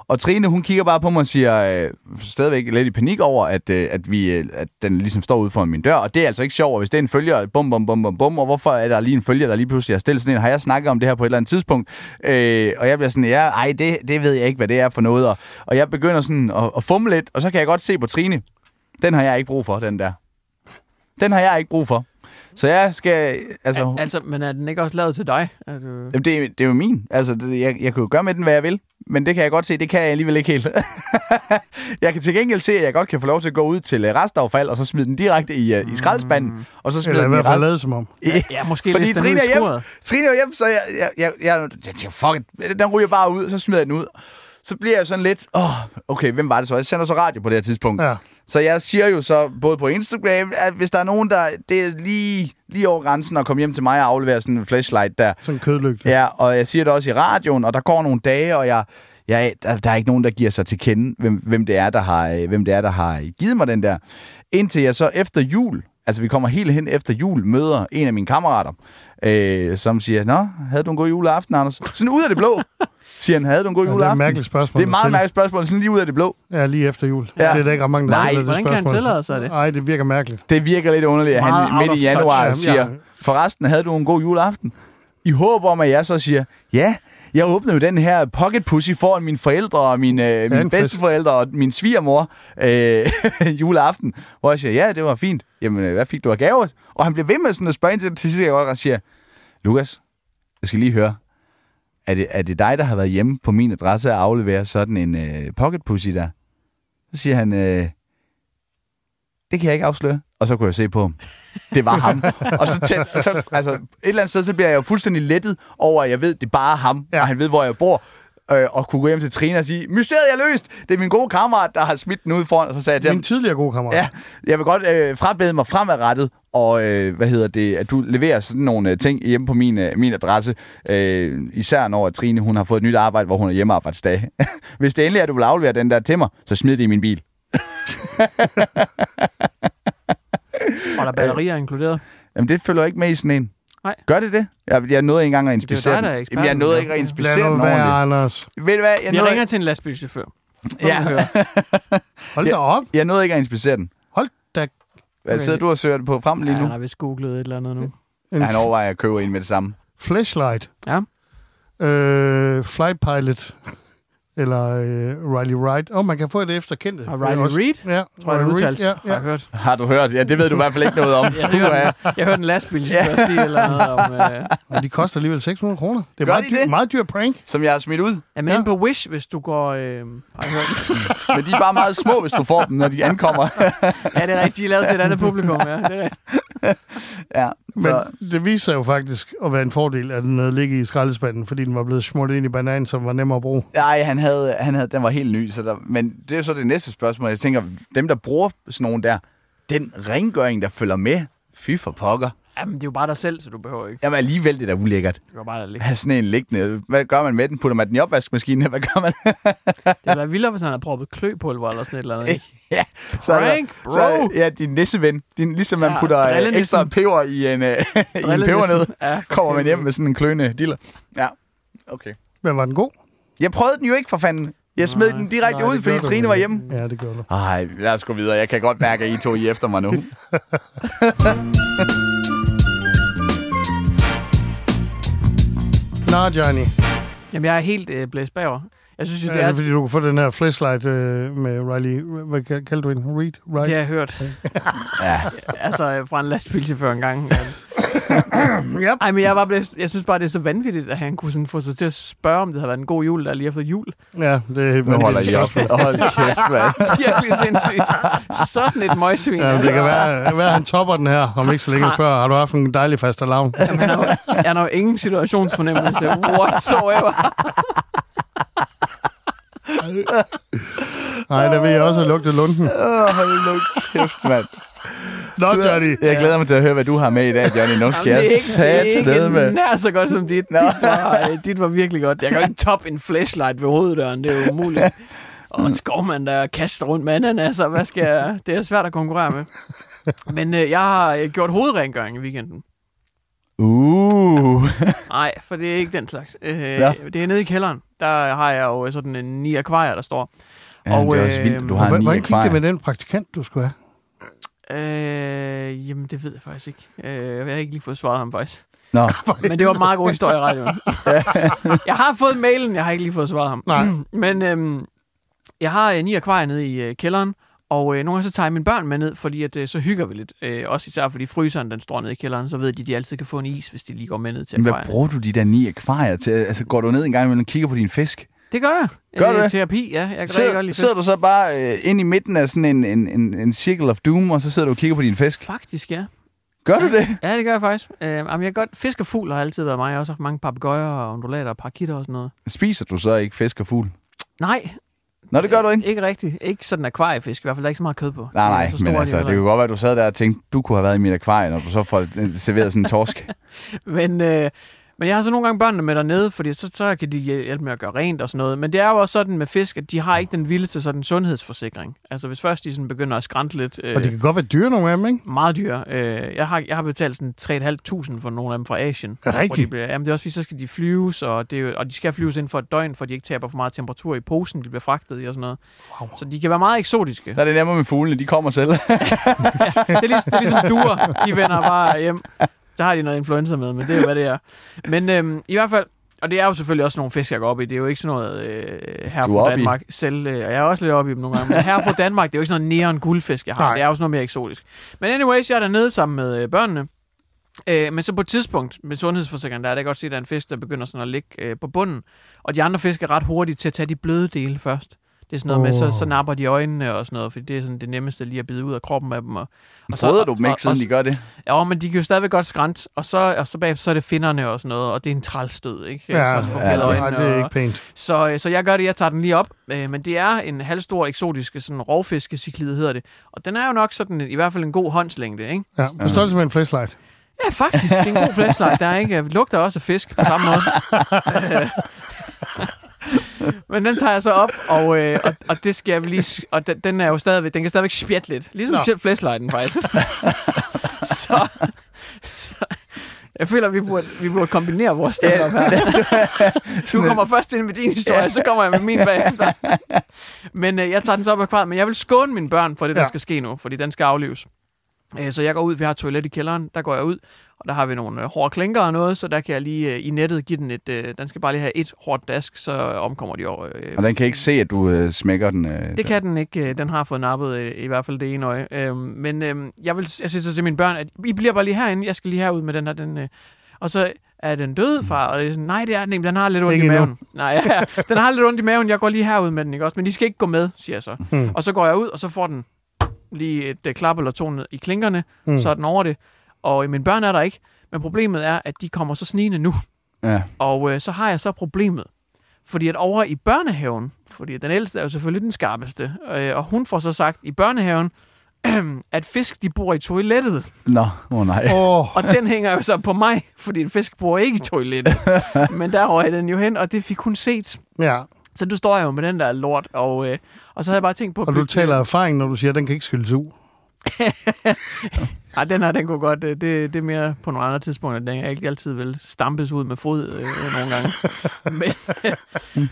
Og Trine, hun kigger bare på mig og siger øh, stadigvæk lidt i panik over, at, øh, at, vi, øh, at den ligesom står ude foran min dør. Og det er altså ikke sjovt, og hvis det er en følger, bum, bum, bum, bum, bum, og hvorfor er der lige en følger, der lige pludselig har stillet sådan en? Har jeg snakket om det her på et eller andet tidspunkt? Øh, og jeg bliver sådan, ja, ej, det, det ved jeg ikke, hvad det er for noget. Og, og jeg begynder sådan at, at fumle lidt, og så kan jeg godt se på Trine, den har jeg ikke brug for, den der. Den har jeg ikke brug for. Så jeg skal... Altså,
Altså, men er den ikke også lavet til dig? Er du...
Jamen, det, er- det er jo min. Altså, det, jeg, jeg kan jo gøre med den, hvad jeg vil. Men det kan jeg godt se, det kan jeg alligevel ikke helt. <laughs> jeg kan til gengæld se, at jeg godt kan få lov til at gå ud til øh, restaffald, og så smide den direkte i, øh, i skraldespanden, og så smide
Eller i
den i
hvert fald
<laughs> rest...
lavet som om.
Ja, måske
Fordi
læs den ud
Trine
i
er hjemme,
skuret.
Trine er hjem, så jeg, jeg, jeg, jeg, jeg tænker, fuck it, den ryger bare ud, så smider jeg den ud. Så bliver jeg sådan lidt, åh, oh, okay, hvem var det så? Jeg sender så radio på det her tidspunkt.
Ja.
Så jeg siger jo så både på Instagram, at hvis der er nogen, der det er lige, lige over grænsen og komme hjem til mig og aflevere sådan en flashlight der,
Sådan en kødlygte.
Ja, og jeg siger det også i radioen, og der går nogle dage, og jeg, jeg, der, der er ikke nogen, der giver sig til kende, hvem, hvem, det er, der har, øh, hvem det er, der har givet mig den der. Indtil jeg så efter jul, altså vi kommer helt hen efter jul, møder en af mine kammerater, øh, som siger, Nå, havde du en god juleaften, Anders? Sådan ud af det blå, siger han, havde du en god
Ja, det er et
juleaften?
mærkeligt spørgsmål.
Det er et meget
at
mærkeligt spørgsmål, sådan lige ud af det blå.
stille. Ja, lige efter jul. Ja.
Ja.
Det er der ikke ret mange, der
Nej,
stiller det
hvordan kan han
spørgsmål.
tillade sig det?
Nej, det virker mærkeligt.
Det virker lidt underligt, at
Meget
han
out
midt
of
i januar
touch.
siger,
Jamen,
forresten havde du en god juleaften. I håb om, at jeg så siger, ja, Jeg åbnede jo den her pocket pussy foran mine forældre og mine, øh, mine
en fest.
bedsteforældre og min svigermor øh, <laughs> juleaften, hvor jeg siger, ja, det var fint. Jamen, øh, hvad fik du af gaver? Og han bliver ved med sådan at spørge ind til det til sidst, jeg godt siger, Lukas, jeg skal lige høre, er det, er det dig, der har været hjemme på min adresse og aflevere sådan en øh, pocket pussy der? Så siger han, øh, det kan jeg ikke afsløre. Og så kunne jeg se på ham. Det var ham. og så, tæt, og så altså, et eller andet sted, så bliver jeg jo fuldstændig lettet over, at jeg ved, det er bare ham, ja.
Ja.
og han ved, hvor jeg bor. Øh, og kunne gå hjem til Trine og sige, mysteriet er løst! Det er min gode kammerat, der har smidt den ud foran. Og så sagde jeg til
Min
ham,
tidligere gode kammerat.
ja, jeg vil godt øh, frabede mig fremadrettet, og øh, hvad hedder det, at du leverer sådan nogle øh, ting hjemme på min, øh, min adresse. Øh, især når at Trine hun har fået et nyt arbejde, hvor hun er hjemmearbejdsdag. <laughs> Hvis det endelig er, at du vil aflevere den der til mig, så smid det i min bil.
Og der er batterier inkluderet.
Jamen, det følger ikke med i sådan en.
Nej.
Gør det det? Jeg, jeg nåede ikke engang at inspicere
dig,
den.
der er eksperten,
Jamen, jeg nåede
jo.
ikke at
Lad
inspicere
nu
den
være,
ordentligt.
Anders.
Ved du hvad? Jeg
Jeg
nåede,
ringer
ikke,
til en lastbilchauffør.
ja,
Hold da op.
jeg nåede ikke at inspicere den.
Hold da
Hvad sidder du og søger det på frem lige
Ja,
nu?
han har vist googlet et eller andet nu.
en
Ja, han overvejer at købe en med det samme.
flashlight.
Ja.
Øh, flight pilot. Eller øh, Riley Wright. Åh, oh, man kan få det efter kendte.
Og Riley Reid, tror
Ja,
jeg, det
Riley Reid,
udtales.
Ja,
Har
ja.
jeg hørt.
Har du hørt? Ja, det ved du i hvert fald ikke noget
<laughs>
om.
Jeg hørte, en- jeg hørte en lastbilchauffør sige et eller andet om... <laughs> Øh,
Men de koster alligevel 600 kroner. Det er
Gør
meget,
de
dyr,
det?
meget dyr prank.
Som jeg har smidt ud.
er man
Ja.
inde på Wish, hvis du går... Øh, har jeg hørt?
Men de er bare meget små, hvis du får dem, når de
<laughs>
ankommer.
Ja, det er rigtigt. De er lavet til et andet publikum, ja. Det er rigtigt.
ja,
Men
så,
det viste sig jo faktisk at være en fordel, at den havde ligget i skraldespanden, fordi den var blevet smurt ind i banan, som var nem at bruge.
nej, han havde, han havde, den var helt ny. Så der, men det er jo så det næste spørgsmål. Jeg tænker, dem der bruger sådan nogen der, den rengøring, der følger med, fy for pokker.
Jamen, det er jo bare dig selv, så du behøver ikke.
Jamen alligevel, det der ulækkert.
Du kan bare lade det ligge.
have sådan en liggende. Hvad gør man med den? Putter man den i opvaskemaskinen? Hvad gør man? <laughs>
Det ville være vildere, hvis han havde proppet kløpulver eller sådan et eller
<laughs>
andet. i.
ja, så, er der-
Prank, bro!
Så, ja, din nisseven. Din, ligesom man
Ja,
putter øh,
drillenissen.
ekstra peber i en, øh, <laughs> i en pebernød,
Drillenissen. Ja, for
<laughs> kommer man
helvede.
hjem med sådan en kløne diller. Ja, okay.
Men var den god?
Jeg prøvede den jo ikke for fanden. Jeg smed den direkte
Nej,
ud,
det
fordi
gjorde du
Trine
ikke.
var hjemme.
Ja, det gjorde du.
Ej, lad os gå videre. Jeg kan godt mærke, at I to er I efter mig nu.
Nå, Johnny.
Jamen, jeg er helt øh, blæst bagover. Jeg synes jo,
Ja,
det
det
er...
er, fordi du kunne få den her flashlight øh, med Riley... Hvad kal- kaldte du hende? Reed? Right?
Det har jeg
<laughs>
hørt. ja. <laughs> Altså, øh, fra en lastbilchauffør engang.
Yep.
Ej, men jeg, var blevet, jeg synes bare, det er så vanvittigt, at han kunne sådan få sig til at spørge, om det havde været en god jul, der lige efter jul. <laughs>
Ja, det er...
Nu holder I op. Hold kæft, mand.
Virkelig sindssygt. Sådan et møgsvin.
Ja, det kan være, være, han topper den her, om ikke så længe spørger, har du haft en dejlig fast alarm?
Jamen, han, har jo, han har jo ingen
<laughs>
situationsfornemmelse whatsoever.
Nej, der vil jeg også have lugtet lunden.
Åh, Hold nu kæft, mand.
Nå, Johnny.
Jeg glæder mig til at høre, hvad du har med i dag, Johnny. Nu skal
Jamen, det er
jeg
ikke, det er
sætte ned
ikke
med.
nær så godt som dit. Dit var, øh, dit var virkelig godt. Jeg kan jo ikke top en flashlight ved hoveddøren. Det er jo umuligt. Og
Mm.
en skovmand, der kaster rundt med ananas, og hvad skal jeg? Det er svært at konkurrere med. Men øh, jeg har øh, gjort hovedrengøring i weekenden.
Uh.
Nej, for det er ikke den slags. Øh,
Ja.
Det er nede i kælderen. Der har jeg jo øh, sådan en ni akvarier, der står.
Ja, og, det er også vildt, at du har en
Hvordan
ny
gik det med
akvarie.
den praktikant, du skulle have?
Øh, jamen, det ved jeg faktisk ikke. Øh, jeg har ikke lige fået svaret ham faktisk.
Nå,
Men det var en meget god historie i
<laughs>
radioen. jeg har fået mailen, jeg har ikke lige fået svaret ham.
Nej.
Men øhm, jeg har øh, ni akvarier nede i øh, kælderen, og øh, nogle gange så tager jeg mine børn med ned, fordi at, øh, så hygger vi lidt. Øh, også især fordi fryseren den står nede i kælderen, så ved de, at de altid kan få en is, hvis de lige går med ned til
men hvad
akvariet.
bruger du de der ni akvarier til? Altså, går du ned en gang imellem og kigger på din fisk?
Det gør jeg. Øh,
Gør du det?
Terapi, ja. Jeg kan rigtig godt
Sidder,
lide
sidder
fisk.
du så bare øh, ind i midten af sådan en, en, en, en circle of doom, og så sidder du og kigger på din fisk?
Faktisk, ja.
Gør du det?
Ja, det gør jeg faktisk. Øh, jamen, jeg kan godt, fisk og fugl har altid været mig. Jeg har også haft mange papegøjer og undulater og parakitter og sådan noget.
Spiser du så ikke fisk og fugl?
Nej,
Nå, det gør du ikke.
Ikke rigtigt. Ikke sådan akvariefisk. I hvert fald, der er ikke så meget kød på.
Nej,
De er
nej,
så
men
store,
altså,
de
det kunne godt være, at du sad der og tænkte, du kunne have været i mit akvarie, når du så får øh, serveret sådan en
<laughs>
torsk.
Men, øh, men jeg har så nogle gange børnene med dernede, fordi så, så kan de hjæl- hjælpe med at gøre rent og sådan noget. Men det er jo også sådan med fisk, at de har ikke den vildeste sådan sundhedsforsikring. Altså hvis først de sådan begynder at skrænte lidt, øh,
Og det kan godt være dyre nogle af dem, ikke?
meget dyre. Øh, jeg, har, jeg har betalt sådan 3.500 for nogle af dem fra Asien.
Er det
Hvor de
rigtigt?
bliver, jamen det er også fordi, så skal de flyves, og, det er jo, og de skal flyves inden for et døgn, for de ikke taber for meget temperatur i posen, de bliver fragtet i og sådan noget. Wow. Så de kan være meget eksotiske.
Der er det nemmere med fuglene, de kommer selv.
det, er ligesom, det er ligesom duer. De vender bare hjem. Så har de noget influenza med, men det er jo, hvad det er. Men øhm, i hvert fald, Og det er jo selvfølgelig også nogle fisk, jeg går op i. Det er jo ikke sådan noget øh, her
Du er
fra
oppe i.
Danmark. Selv, øh, og jeg er også lidt oppe i dem nogle gange. Men her fra Danmark, det er jo ikke sådan noget neon guldfisk, jeg har.
Nej.
Det er jo sådan noget mere eksotisk. Men anyways, jeg er dernede sammen med øh, børnene. Øh, men så på et tidspunkt med sundhedsforsikringen, der er det godt se, at der er en fisk, der begynder sådan at ligge øh, på bunden. Og de andre fisk er ret hurtige til at tage de bløde dele først. Det er sådan noget oh. med, så, så napper de øjnene og sådan noget, fordi det er sådan det nemmeste lige at bide ud af kroppen af dem. Og, og så-
Fodrer du dem
og-
ikke, siden
og-
de gør det?
Ja, men de kan jo stadigvæk godt skrænte, og så, og så bagefter så er det finnerne og sådan noget, og det er en trælstød, ikke?
Ja,
Først får
ja,
blodøjnene,
nej, det er
og-
ikke pænt.
så, øh, så jeg gør det, jeg tager den lige op, øh, men det er en halvstor eksotisk sådan rovfiskecyklid hedder det, og den er jo nok sådan i hvert fald en god håndslængde, ikke?
Ja, på størrelse med en flashlight.
Ja, faktisk, det er en god flashlight, der er ikke, lugter også af fisk på samme måde. <laughs> Øh, men den tager jeg så op, og, øh, og, og det skal jeg lige, s- og den, den er jo stadigvæk, den kan stadigvæk spjætte lidt, ligesom
Nå.
selv flashlighten faktisk. <laughs> så, så, jeg føler, vi burde, vi burde kombinere vores stand op her. Du kommer først ind med din historie, så kommer jeg med min bagefter. Men øh, jeg tager den så op af kvaret, men jeg vil skåne mine børn for det, der
Ja.
skal ske nu, fordi den skal aflives. Øh, så jeg går ud, vi har et toilet i kælderen, der går jeg ud, og der har vi nogle øh, hårde klinker og noget, så der kan jeg lige øh, i nettet give den et, øh, den skal bare lige have et hårdt dask, så omkommer de over. Øh,
Og den kan ikke se, at du øh, smækker den. Øh,
det kan den ikke. Øh, Den har fået nappet øh, i hvert fald det ene øje. Øhm, Men øhm, jeg, vil, jeg siger så til mine børn, at I bliver bare lige herinde. Jeg skal lige herud med den her. Den, øh. og så er den død, far? Og det er sådan, nej, det er den ikke. Den har lidt ondt
Ikke
i
endnu.
maven. Nej, ja, ja. den har lidt ondt i maven. Jeg går lige herud med den, ikke også? Men de skal ikke gå med, siger jeg så. Mm. Og så går jeg ud, og så får den lige et øh, klap eller to ned i klinkerne. Mm. Så er den over det. Og øh, mine børn er der ikke. Men problemet er, at de kommer så snigende nu.
Ja.
Og øh, så har jeg så problemet. Fordi at over i børnehaven, fordi den ældste er jo selvfølgelig den skarpeste, øh, og hun får så sagt i børnehaven, <clears throat> at fisk de bor i toilettet.
Nå, åh oh, nej.
Åh,
Og den hænger jo så på mig, fordi en fisk bor ikke i
<laughs>
toilettet. Men der røg den jo hen, og det fik hun set.
ja.
Så du står jeg jo med den der lort, og, øh, og så havde jeg bare tænkt på... at
Og du
bygge-
taler af erfaring, når du siger, at den kan ikke skyldes ud.
Ej, den her, den kunne godt... øh, Det, det er mere på nogle andre tidspunkter, den jeg ikke altid vil stampes ud med fod øh, nogle gange. men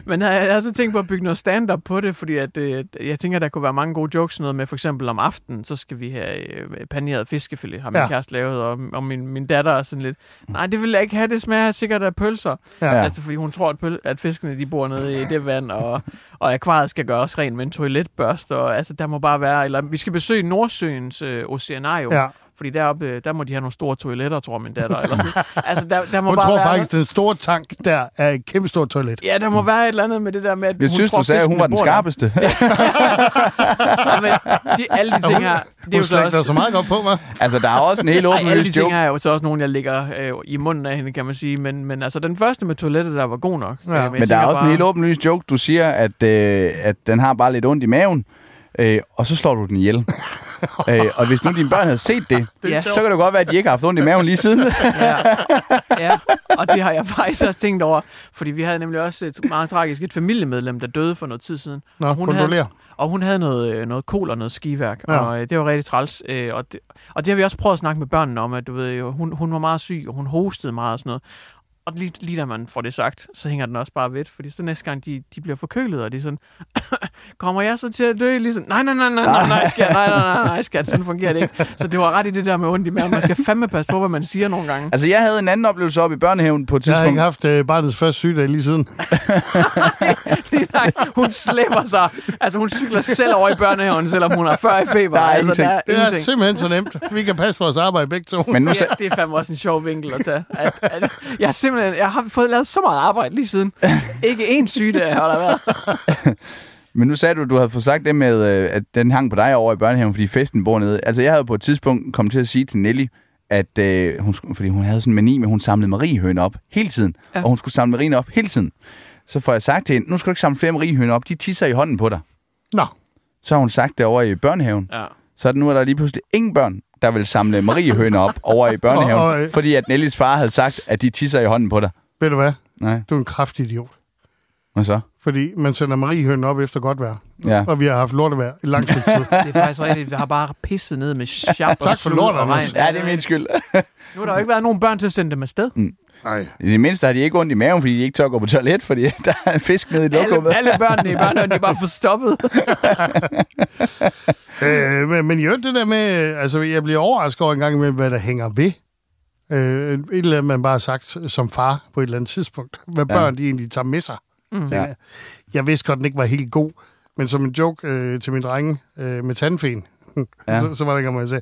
men <laughs> jeg, jeg har så tænkt på at bygge noget stand-up på det, fordi at, øh, jeg tænker, der kunne være mange gode jokes, noget med for eksempel om aftenen, så skal vi have øh, paneret fiskefilet, har min ja.
Ja.
kæreste lavet, og, og min, min datter er sådan lidt, nej, det vil jeg ikke have, det smager sikkert af pølser.
Ja.
Ja. Altså, fordi hun tror, at, pøl- at fiskene de bor
<laughs>
nede i det vand, og, og akvariet skal gøres rent med en toiletbørste, og altså, der må bare være... Eller, vi skal besøge Nordsøens øh, oceanarium,
Ja.
fordi deroppe, øh, der må de have nogle store toiletter, tror min datter. Eller
<laughs>
sådan. altså, der, der må
Hun
bare
tror
være,
faktisk, den store tank der er et kæmpe stort toilet.
Ja, der må være et eller andet med det der med, at
Jeg
hun
synes,
tror,
du sagde, at hun
fiskene
var den
bor der.
skarpeste.
Ja, men de, alle de ting her, det er jo
Hun
så
slægter
også...
så meget godt på mig.
<laughs> altså, der er også en helt
<laughs> Ej, alle de
åbenlyst
ting
joke.
her er jo så også nogen, jeg ligger øh, i munden af hende, kan man sige. Men, men altså, den første med toilettet, der var god nok.
Ja.
Øh, jeg
Men der er
tænker
også en
bare-
helt åbenlyst joke. Du siger, at, øh, at den har bare lidt ondt i maven, øh, og så slår du den
<laughs>
ihjel. øh, og hvis nu dine børn havde set det,
Ja.
ja. så kan det godt være, at de ikke har haft ondt i maven lige siden.
<laughs> ja, og det har jeg faktisk også tænkt over, fordi vi havde nemlig også et meget tragisk et familiemedlem, der døde for noget tid siden.
Nå,
og havde,
kondolerer.
og hun havde noget, øh, noget kol og noget skiværk, ja.
Ja.
og øh, det var rigtig træls. øh, Og det, og det har vi også prøvet at snakke med børnene om, at du ved, jo, hun, hun var meget syg, og hun hostede meget og sådan noget. Og lige, lige da man får det sagt, så hænger den også bare ved, fordi så næste gang, de, de bliver forkølet, og de er sådan, <coughs> kommer jeg så til at dø? Ligesom, nej, nej, nej, nej, nej, nej, skat, nej, nej, nej, nej, skat, sådan fungerer det ikke. Så det var ret i det der med ondt i maven. Man skal fandme passe på, hvad man siger nogle gange.
altså, jeg havde en anden oplevelse op i børnehaven på et
Jeg har
tidspunkt.
ikke haft øh, barnets første sygedag
<laughs>
lige siden.
Altså-
Lige <laughs> nej, hun slæber sig. Altså, hun cykler selv over i børnehaven, selvom hun har 40 i feber.
Der er
altså,
ingenting.
Der er
Det er
ingenting.
simpelthen så nemt. Vi kan passe vores arbejde begge to.
<laughs> Men nu,
Ja,
sa-
det er fandme også en sjov vinkel at tage. At, at jeg, har simpelthen, jeg har fået lavet så meget arbejde lige siden. Ikke én sygdag har der været.
Men nu sagde du, at du havde fået sagt det med, øh, at den hang på dig over i børnehaven, fordi festen bor nede. Altså, jeg havde på et tidspunkt kommet til at sige til Nelly, at øh, hun, skulle- fordi hun havde sådan en mani, men hun samlede mariehøne op hele tiden. Ja. Og hun skulle samle marien op hele tiden. Så får jeg sagt til hende, nu skal du ikke samle flere mariehøne op, de tisser i hånden på dig.
Nå,
Så har hun sagt det over i børnehaven.
Ja.
Så er det nu er der lige pludselig ingen børn, der vil samle mariehøne op over i børnehaven,
Og- og, øh,
fordi at Nellys far havde sagt, at de tisser i hånden på dig.
ved du hvad?
Nej,
Du er en kraftig idiot.
hvad så?
Fordi man sender Mariehøn op efter godt vejr.
Ja.
Og vi har haft lortevejr i
<laughs>
lang tid.
Det er faktisk rigtigt. Jeg har bare pisset ned med sjap og
Tak for
slud
lortet,
og regn.
Anders.
Ja, det er min skyld. <laughs>
Nu har der jo ikke været nogen børn til at sende dem afsted.
Nej.
I det mindste har de ikke ondt i maven, fordi de ikke tør at gå på toilet, fordi <laughs> der er en fisk nede i lokummet.
Alle, alle børnene i børnehaven, de er bare forstoppet.
Øh, men, men jo, det der med... øh, Altså, jeg bliver overrasket over en gang imellem, hvad der hænger ved. Øh, et eller andet, man bare har sagt øh, som far på et eller andet tidspunkt. Hvad
Ja.
ja. børn de egentlig tager med sig. Mm.
Ja.
Ja. Jeg vidste godt, den ikke var helt god, men som en joke øh, til min drenge øh, med tandfen, <laughs>
Ja.
ja. så, så var der ikke, om jeg sagde,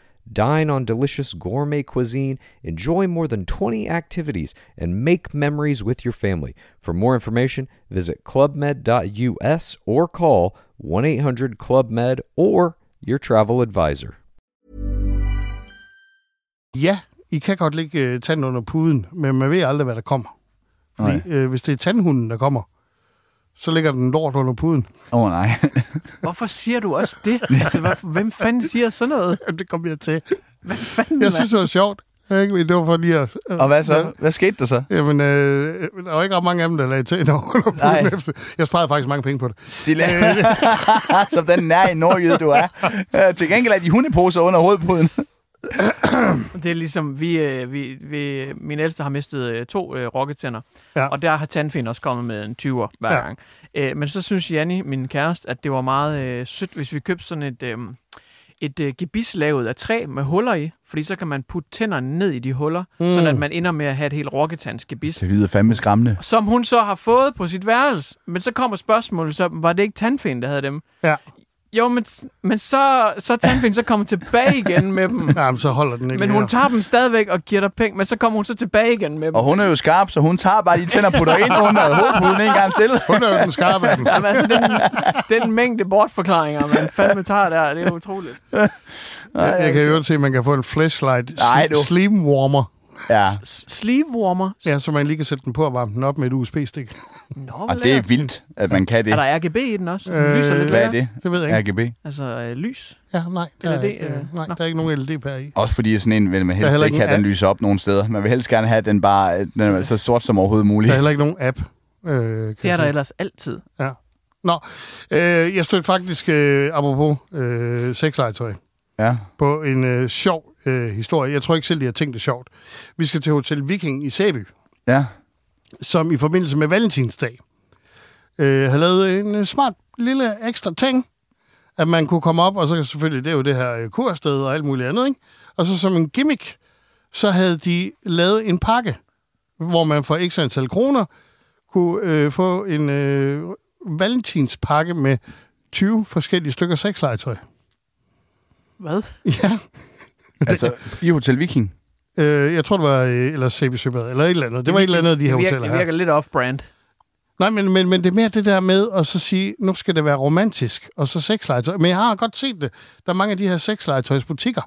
Dine on delicious gourmet cuisine, enjoy more than 20 activities, and make memories with your family. For more information, visit clubmed.us or call 1 800 clubmed or your travel advisor.
ja, I kan godt lægge øh, tanden under puden, men man ved aldrig, hvad der kommer.
Nej.
Fordi, øh, hvis det er tandhunden, der kommer, så ligger den lort under puden. <laughs>
Åh, oh, nej.
Hvorfor siger du også det? Altså, hvor, hvem fanden siger sådan noget?
Jamen, det kom jeg til.
Hvad fanden,
Jeg synes, det var sjovt. Ikke? Men Det var for lige at...
Og hvad så? Hvad skete der så?
Jamen, øh, der var ikke ret mange af dem, der lagde til <laughs> under
Nej.
puden efter. Jeg sparede faktisk mange penge på det.
De la- <laughs> Som den nær i nordjyde, du er. Øh, Til gengæld er de hundeposer under hovedpuden.
mand? Det er ligesom, vi, øh, vi, vi, min ældste har mistet øh, to øh, rokketænder,
Ja.
og der har tandfen også kommet med en 20'er hver
Ja.
gang. Øh, men så synes Janni, min kæreste, at det var meget øh, sødt, hvis vi købte sådan et, øh, et øh, gebis lavet af træ med huller i, fordi så kan man putte tænderne ned i de huller, mm. sådan at man ender med at have et helt rokketands gebis.
<laughs> Det lyder fandme skræmmende.
som hun så har fået på sit værelse. Men så kommer spørgsmålet, så var det ikke tandfen, der havde dem?
Ja,
Jo, men, men så, så er tandfen så kommer tilbage igen
<laughs>
med dem.
Jamen, så holder den ikke
Men
mere.
hun tager dem stadigvæk og giver dig penge, men så kommer hun så tilbage igen med dem.
Og hun er jo skarp, så hun tager bare de tænder og putter ind under hovedpuden en gang til.
Hun er jo den skarpe
<laughs>
af dem.
Jamen, altså, den, den mængde bortforklaringer, man fandme tager der, det er utroligt.
Jeg, jeg kan jo se, at man kan få en flashlight
Nej, du.
sl- sleep warmer.
Ja.
S- Sleevewarmer?
Ja, så man lige kan sætte den på og varme den op med et USB-stik.
Nå,
Og
hvor
det er
lækkert.
vildt, at man kan det.
Er der RGB i den også? Den
Øh,
lyser lidt
Hvad er
lækkert.
det?
Det ved jeg ikke.
RGB.
Altså, øh, lys.
Ja, nej. Der, er,
LED,
ikke, øh,
øh,
nej,
nå.
der er ikke nogen LED-pære i.
Også fordi sådan en vil man helst
heller
ikke
ikke
have, den
en
lyser op nogen steder. Man vil helst gerne have, at den bare øh, den er så sort som overhovedet
Der
muligt.
er heller ikke nogen app. Øh, kan
Det er
jeg
der
sige.
ellers altid.
Ja. Nå, øh, jeg stødte faktisk, øh, apropos øh, sexlegetøj,
Ja.
på en øh, sjov øh, historie. Jeg tror ikke selv, de har tænkt det sjovt. Vi skal til Hotel Viking i Sæby,
Ja.
som i forbindelse med Valentinsdag øh, har lavet en øh, smart lille ekstra ting, at man kunne komme op, og så selvfølgelig, det er jo det her øh, kursted og alt muligt andet, ikke? Og så som en gimmick, så havde de lavet en pakke, hvor man for ekstra antal kroner kunne øh, få en øh, valentinspakke med 20 forskellige stykker sexlegetøj.
Hvad?
Ja.
Altså, i Hotel Viking.
Øh, jeg tror, det var øh, eller CB Søbad, eller et eller andet. Det var et eller andet af de her
det virker,
hoteller
Det
her.
virker lidt off-brand.
Nej, men, men, men det er mere det der med at så sige, nu skal det være romantisk, og så sexlegetøj. Men jeg har godt set det. Der er mange af de her sexlegetøjsbutikker,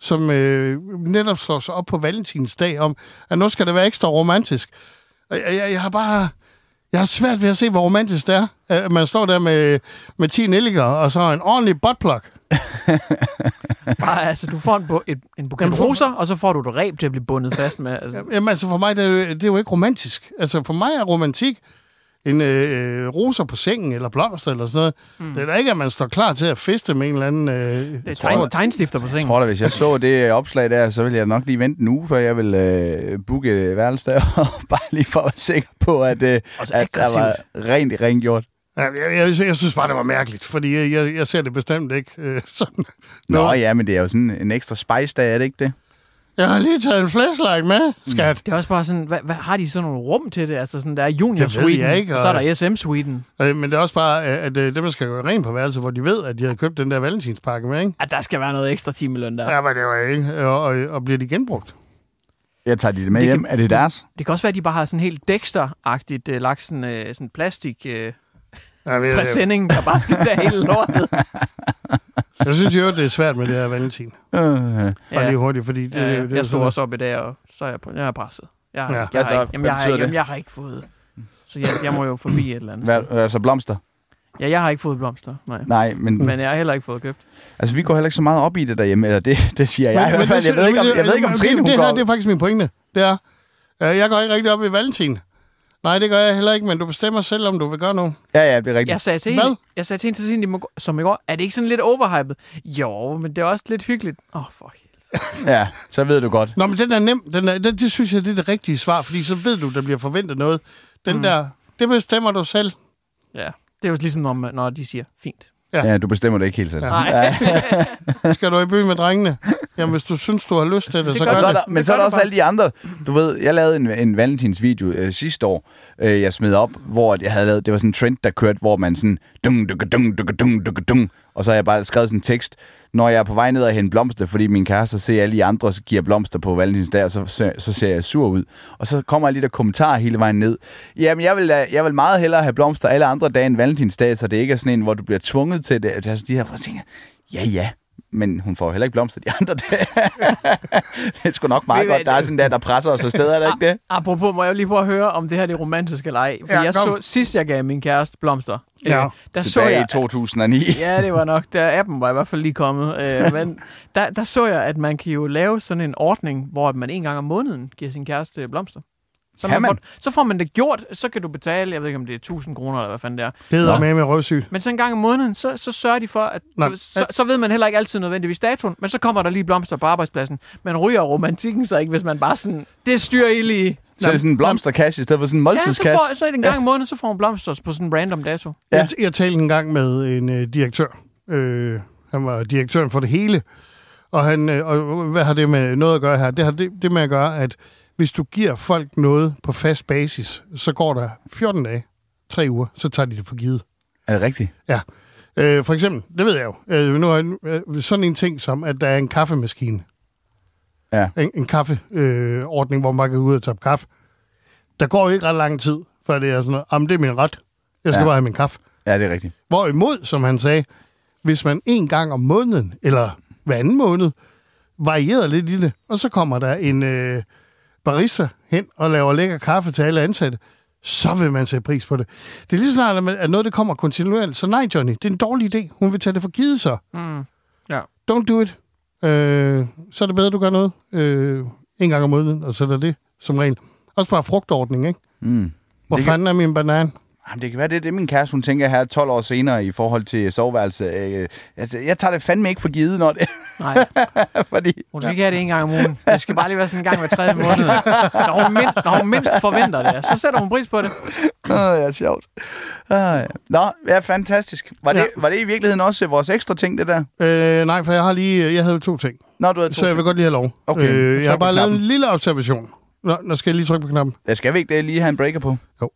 som øh, netop slår sig op på valentinsdag om, at nu skal det være ekstra romantisk. Og jeg, jeg, jeg har bare... Jeg har svært ved at se, hvor romantisk det er. at Man står der med, med 10 nelliker, og så en ordentlig buttplug.
Bare, altså, du får en, bu- et, en buket
Jamen, for-
roser, og så får du et reb til at blive bundet fast med. Altså.
Jamen altså for mig, det er, jo- det er jo ikke romantisk. Altså for mig er romantik en øh, roser på sengen, eller blomster, eller sådan noget. Mm. Det er da ikke, at man står klar til at feste med en eller anden... Øh,
Det er tegn, tegnstifter på
Jeg
sengen.
tror da, hvis jeg så det øh, opslag der, så ville jeg nok lige vente en uge, før jeg ville øh, booke et værelse der, <laughs> bare lige for at være sikker på, at, øh,
Og så
at der var rent rengjort.
Ja, jeg, jeg, jeg synes bare, det var mærkeligt, fordi jeg- jeg, jeg ser det bestemt ikke øh, <laughs> sådan.
Nå, Nå ja, men det er jo sådan en ekstra spice dag, er det ikke det?
Jeg har lige taget en flashlight med,
Mm.
skat.
Det er også bare sådan, hvad, hvad har de sådan nogle rum til det? Altså sådan, der er
Det ved
junior-suiten,
jeg ikke,
og
og-
så er der SM-suiten.
Mm. Men det er også bare, øh, at øh, dem, der skal gå rent på værelset, hvor de ved, at de har købt den der valentinspakke med, ikke?
At der skal være noget ekstra timeløn der.
Ja, men det var ikke. Og, og, og bliver de genbrugt?
Jeg tager de det med
Det
det
kan-
hjem. Er det deres?
Det kan også være, at de bare har sådan helt Dexter-agtigt uh, lagt sådan, uh, sådan plastik uh,
Ja, men jeg, jeg,
præsending, der bare skal tage hele
<laughs>
lortet.
jeg synes jo, det er svært med det her valentin.
Øh,
Bare lige hurtigt, fordi det,
ja,
det,
ja,
det er
jeg stod
sådan-
også op i dag, og så er jeg, på, jeg er presset. Jeg,
Ja.
jeg,
Ja,
jeg,
så
har ikke, jamen,
hvad
jeg, har,
betyder det?
ikke- jamen, jeg har ikke fået... Så jeg, jeg må jo forbi et eller andet.
hvad, altså blomster?
Ja, jeg har ikke fået blomster, nej.
Nej, men, men
Men jeg har heller ikke fået købt.
altså, vi går heller ikke så meget op i det derhjemme, eller det, det siger jeg i hvert fald. Jeg
det-
ved ikke, om,
men-
jeg ved ikke, om
men-
Trine, hun
Det her,
går...
det er faktisk min pointe. Det er, øh, jeg går ikke rigtig op i valentin. Nej, det gør jeg heller ikke, men du bestemmer selv, om du vil gøre noget.
Ja, ja, det er rigtigt.
Jeg sagde til
Hvad?
hende, jeg sagde til hende, til siden, i må- som i går, er det ikke sådan lidt overhypet? Jo, men det er også lidt hyggeligt. Åh, oh, for helvede.
Ja, så ved du godt.
Nå, men den er nem. Den er, den, det synes jeg, det er det rigtige svar, fordi så ved du, der bliver forventet noget. Den mm. der, det bestemmer du selv.
Ja, det er jo ligesom, når, man- når de siger, fint.
Ja, du bestemmer det ikke helt selv. Ja.
Nej,
Skal du i byen med drengene? Jamen, hvis du synes, du har lyst til det, det så gør
Og så er
det.
der, men så er der også alle de andre. Du ved, jeg lavede en, en valentinsvideo øh, sidste år, øh, jeg smed op, hvor at jeg havde lavet, det var sådan en trend, der kørte, hvor man sådan, dung, dung, dung, dung, dung, dung, dung, og så har jeg bare skrevet sådan en tekst, når jeg er på vej ned og hente blomster, fordi min kæreste ser alle de andre, så giver blomster på valentinsdag, og så, så, så ser jeg sur ud. Og så kommer jeg lidt af kommentarer hele vejen ned. Jamen, jeg vil, da- jeg vil meget hellere have blomster alle andre dage end valentinsdag, så det ikke er sådan en, hvor du bliver tvunget til det. Altså, de her hvor jeg tænker, ja, ja, men hun får heller ikke blomster de andre dage. det er sgu nok
Ved
meget
I hvad,
godt. Der er sådan der, der presser os afsted, er der ikke det?
Apropos, må jeg lige prøve at høre, om det her det er romantisk eller ej. For
Ja,
ja, jeg
kom.
så, sidst jeg gav min kæreste blomster,
Ja.
øh, der <laughs> så
Tilbage
jeg...
i 2009.
Ja, det var nok. Der appen var i hvert fald lige kommet. Øh, men der, der så jeg, at man kan jo lave sådan en ordning, hvor man en gang om måneden giver sin kæreste blomster. Så,
Kan man?
Får, så får man det gjort, så kan du betale, jeg ved ikke om det er 1000 kroner eller hvad fanden det er.
Det hedder
Nå.
med med røvsyg.
Men så en gang om måneden, så, så sørger de for, at
Nå,
så, så ved man heller ikke altid nødvendigvis datoen, men så kommer der lige blomster på arbejdspladsen. Man ryger romantikken så ikke, hvis man bare sådan, det styrer I lige.
Så er det sådan en blomsterkasse i stedet for sådan en
Ja, så,
måltidskasse.
får, så en gang om måneden, så får man blomster på sådan en random dato.
Ja.
Ja. Jeg, jeg talte en gang med en øh, direktør. Øh, han var direktøren for det hele. Og, han, øh, og hvad har det med noget at gøre her? Det har det, det med at gøre, at hvis du giver folk noget på fast basis, så går der 14 dage, 3 uger, så tager de det for givet.
Er det rigtigt?
Ja. Øh, for eksempel, det ved jeg jo. Øh, nu har jeg, øh, sådan en ting som, at der er en kaffemaskine.
Ja.
En, en kaffeordning, øh, ordning, hvor man kan gå ud og tage kaffe. Der går jo ikke ret lang tid, før det er sådan noget, jamen det er min ret. Jeg
Ja.
skal ja. bare have min kaffe.
Ja, det er rigtigt.
Hvorimod, som han sagde, hvis man en gang om måneden, eller hver anden måned, varierer lidt i det, og så kommer der en øh, barista hen og laver lækker kaffe til alle ansatte, så vil man sætte pris på det. Det er lige så snart, at man- at noget det kommer kontinuerligt. Så nej, Johnny, det er en dårlig idé. Hun vil tage det for givet så.
Mm. Ja.
Don't do it. Øh, så er det bedre, at du gør noget øh, en gang om måneden, og så er det det som regel. Også bare frugtordning, ikke?
Mm.
Hvor
Det kan-
fanden er min banan?
Jamen, det kan være, det er det, min kæreste, hun tænker her 12 år senere i forhold til soveværelse. Øh, altså, jeg tager det fandme ikke for givet, når det
Nej.
<laughs> fordi...
Hun skal ikke have det en gang om ugen. Det skal bare lige være sådan en gang hver tredje måned. Når hun, mind, når hun mindst forventer det, så sætter hun pris på det.
Åh, ja, sjovt. Åh, ja. Nå, ja, fantastisk. Var, det, var det i virkeligheden også øh, vores ekstra ting, det der?
Øh, nej, for jeg har lige... Jeg havde to ting.
Nå, du havde to
Så jeg vil
ting.
godt lige have lov.
Okay, jeg
øh,
trykker
jeg har
på
bare lavet en
knappen.
lille observation. Nå, nu skal jeg lige trykke på knappen.
Jeg skal vi ikke det lige have en breaker på?
Jo.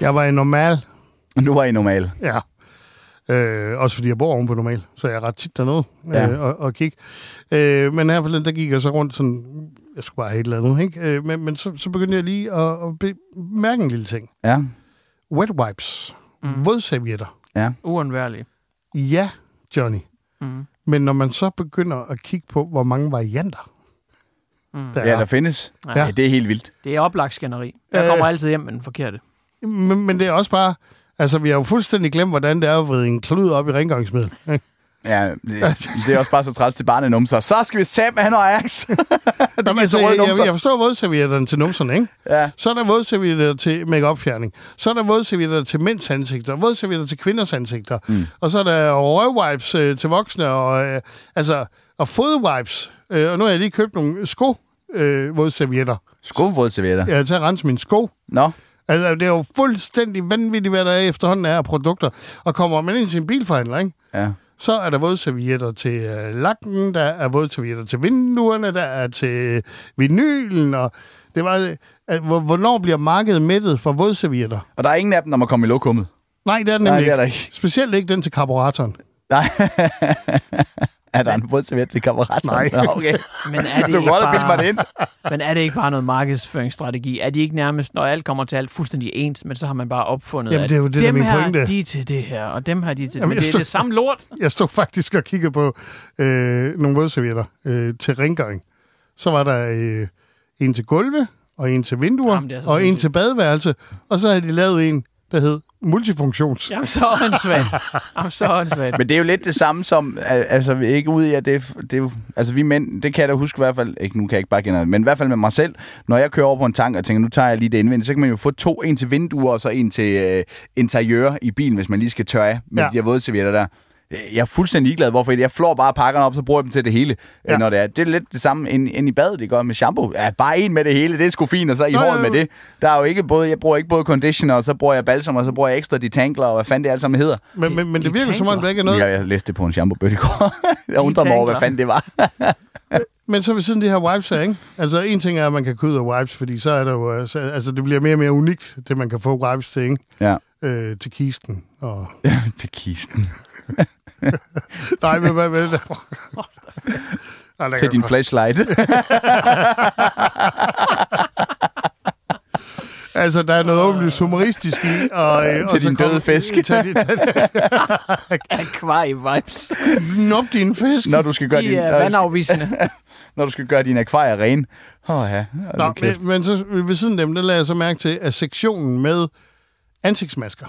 Jeg var i normal.
Nu var I normal.
Ja. Øh, også fordi jeg bor oven på normal, så jeg er ret tit dernede
Ja.
ja. øh, og, og kigge. Øh, men her forleden, der gik jeg så rundt sådan, jeg skulle bare have et eller andet, ikke? Øh, men, men så, så begyndte jeg lige at, at bemærke en lille ting.
Ja,
Wet wipes, mm. vådservietter.
ja.
Uundværlig.
Ja, Johnny.
Mm.
Men når man så begynder at kigge på, hvor mange varianter
Mm.
der
Ja,
er.
der findes.
Ja.
Ja, det er helt vildt.
Det er oplagt skænderi. Jeg
Øh.
kommer altid hjem med den forkerte.
Men, men det er også bare... Altså, vi har jo fuldstændig glemt, hvordan det er at vride en klud op i rengøringsmiddel.
<laughs>
ikke?
Ja, det, det er også bare så træls til barnet numser. Så skal vi sætte han og Ajax. <laughs>
Nå, men
så
altså,
røde
jeg,
numser.
jeg, jeg forstår vådservietterne til numserne, ikke?
Ja.
Så er der vådservietter til make-up-fjerning. Så er der vådservietter til mænds ansigter. Vådservietter til kvinders ansigter. Mm. Og så er der røgwipes øh, til voksne. Og, øh, altså, og fodwipes. Øh, og nu har jeg lige købt nogle sko øh, vådservietter.
Skovvådservietter. Ja.
Jeg er til at rense mine sko.
Nå,
Altså, det er jo fuldstændig vanvittigt, hvad der er efterhånden er af produkter. Og kommer man ind til en bilforhandler, ikke?
ja.
Så er der vådservietter til øh, lakken, der er vådservietter til vinduerne, der er til vinylen, og det var, øh, hvor- hvornår bliver markedet mættet for vådservietter?
Og der er ingen af dem, når man kommer i lokummet.
Nej, det er den
Nej,
nemlig
det er der ikke.
Specielt ikke den til karburatoren.
Nej. <laughs> er der en vådserviet til kammerat?
Nej.
Nå, <laughs> okay.
Men
Du
er det, ikke
kunne godt have bildt mig det
bare,
ind.
men er det ikke bare noget markedsføringsstrategi? Er de ikke nærmest, når alt kommer til alt, fuldstændig ens, men så har man bare opfundet,
Jamen, det er jo det, der
at
er
dem
min
her,
pointe.
de er til det her, og dem her, de er til
Jamen,
Jamen, det. Men det er
jeg stod-
det samme lort.
Jeg stod faktisk og kiggede på øh, nogle vådservietter øh, til rengøring. Så var der øh, en til gulve, og en til vinduer,
Jamen, det er så
og en
sindssygt.
til badeværelse. Og så havde de lavet en, der hed multifunktions.
Jamen, så åndssvagt. Jamen, så åndssvagt.
Men det er jo lidt det samme som, al- altså vi er ikke ude i, at det, er f- det er jo, altså vi mænd, det kan jeg da huske i hvert fald, ikke, nu kan jeg ikke bare generelt, men i hvert fald med mig selv, når jeg kører over på en tank og tænker, nu tager jeg lige det indvendigt, så kan man jo få to, en til vinduer og så en til øh, interiør i bilen, hvis man lige skal tørre af med
Ja.
ja. de her våde servietter der. Jeg er fuldstændig ligeglad, hvorfor jeg floor bare pakkerne op, så bruger jeg dem til det hele,
Ja.
ja. når det er. Det er lidt det samme ind, ind i badet, det gør med shampoo. Ja, bare en med det hele, det er sgu fint, og så i
Nå,
håret
jo.
med det. Der er jo ikke både, jeg bruger ikke både conditioner, og så bruger jeg balsam, og så bruger jeg ekstra detangler, og hvad fanden det alt sammen hedder.
Men, men, men
de
det virker som om,
taber.
der ikke er
Noget.
noget.
Jeg, jeg læste det på en shampoo-bøtte i går. <laughs> jeg undrer mig over, hvad
tankler.
fanden det var.
Men så ved siden af de her wipes her, ikke? Altså, en ting er, at man kan køde af wipes, fordi så er der jo... øh, Så, altså, det bliver mere og mere unikt, det man kan få wipes til, ikke?
ja, <clears throat>
Øh, til kisten. Og...
det er kisten.
Nej, men hvad hvad- Ej, der
Til
kan-
din flashlight. <laughs>
Altså, der er noget åbenlyst humoristisk i. Og, øh,
Til
så
din døde
kommer- <laughs>
fisk.
Til, til, til,
Akvarie-vibes.
nop din fisk.
når, du skal gøre
De
din,
øh,
er vandafvisende.
når du skal gøre dine akvarier rene. Åh oh, ja, Hold nu
Nå,
kæft.
men, men så ved siden af dem, der lader jeg så mærke til, at sektionen med ansigtsmasker.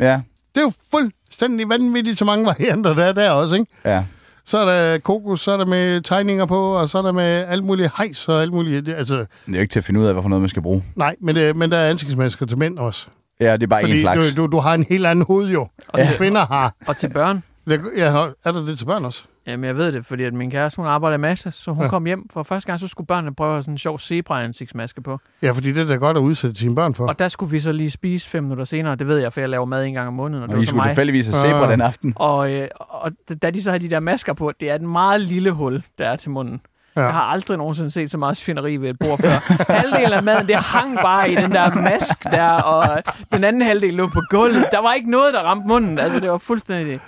ja,
Det er jo fuldstændig vanvittigt, så mange varianter der er der også, ikke?
ja.
Så er der kokos, så er der med tegninger på, og så er der med alt muligt hejs og alt muligt. Det- Altså,
Det er jo ikke til at finde ud af, hvad for noget man skal bruge.
nej, men, det, men der er ansigtsmasker til mænd også.
Ja, det er bare en
Fordi
slags.
du, du, du har en helt anden hoved jo, og ja. kvinder har.
Og til børn.
Det- Ja, er der det til børn også?
Jamen, jeg ved det, fordi at min kæreste, hun arbejder i masse, så hun kom hjem for første gang, så skulle børnene prøve at have sådan en sjov zebra-ansigtsmaske på.
Ja, fordi det er da godt at udsætte sine børn for.
Og der skulle vi så lige spise fem minutter senere, det ved jeg, for jeg laver mad en gang om måneden, og det
Og
var
I
så
skulle
mig.
tilfældigvis have zebra
Ah.
den aften.
Og, øh, og da de så havde de der masker på, det er et meget lille hul, der er til munden.
Ja.
Ja. Jeg har aldrig nogensinde set så meget svineri ved et bord før. Halvdelen af maden, det hang bare i den der mask der, og den anden halvdel lå på gulvet. Der var ikke noget, der ramte munden. Altså, det var fuldstændig...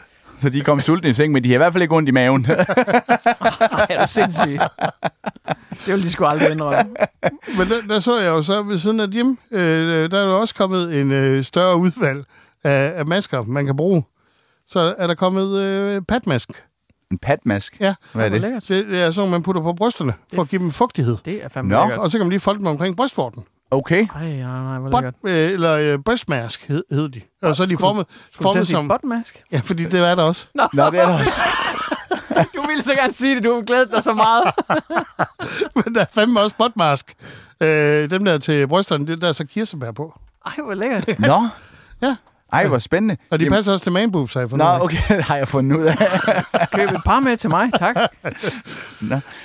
Så de kom sultne i seng, men de har i hvert fald ikke ondt i maven. <laughs>
Ej, det er sindssygt. <laughs> Det ville de sgu aldrig indrømme.
Men der, der så jeg jo så ved siden af dem, øh, der er jo også kommet en øh, større udvalg af, af masker, man kan bruge. Så er der kommet øh, patmask.
en patmask.
Ja,
Hvad er
Hvor
det?
lækkert.
det, det er sådan, man putter på brysterne, for at give dem fugtighed.
Det er fandme
Nå.
lækkert.
Og så kan man lige folde dem omkring brystvorten.
Okay.
Ej, nej, nej, hvor
Bot,
lækkert.
øh, eller øh, breastmask hed, hed de. Og så er de formet,
Skulle du til
formet
at sige
som...
botmask?
Ja, fordi det er der også.
Nå, det er der også.
Du ville så gerne sige det, du har glædet dig så
<laughs>
meget.
<laughs> Men der er fandme også botmask. Øh, dem der til brysterne, det der er så kirsebær på.
Ej, hvor lækkert.
Nå.
Ja.
Ej, hvor spændende.
Og de
Jamen-
passer også til manboobs, har jeg fundet
Nå,
ud af.
okay, <laughs> det har jeg fundet ud af.
Køb et par med til mig, tak.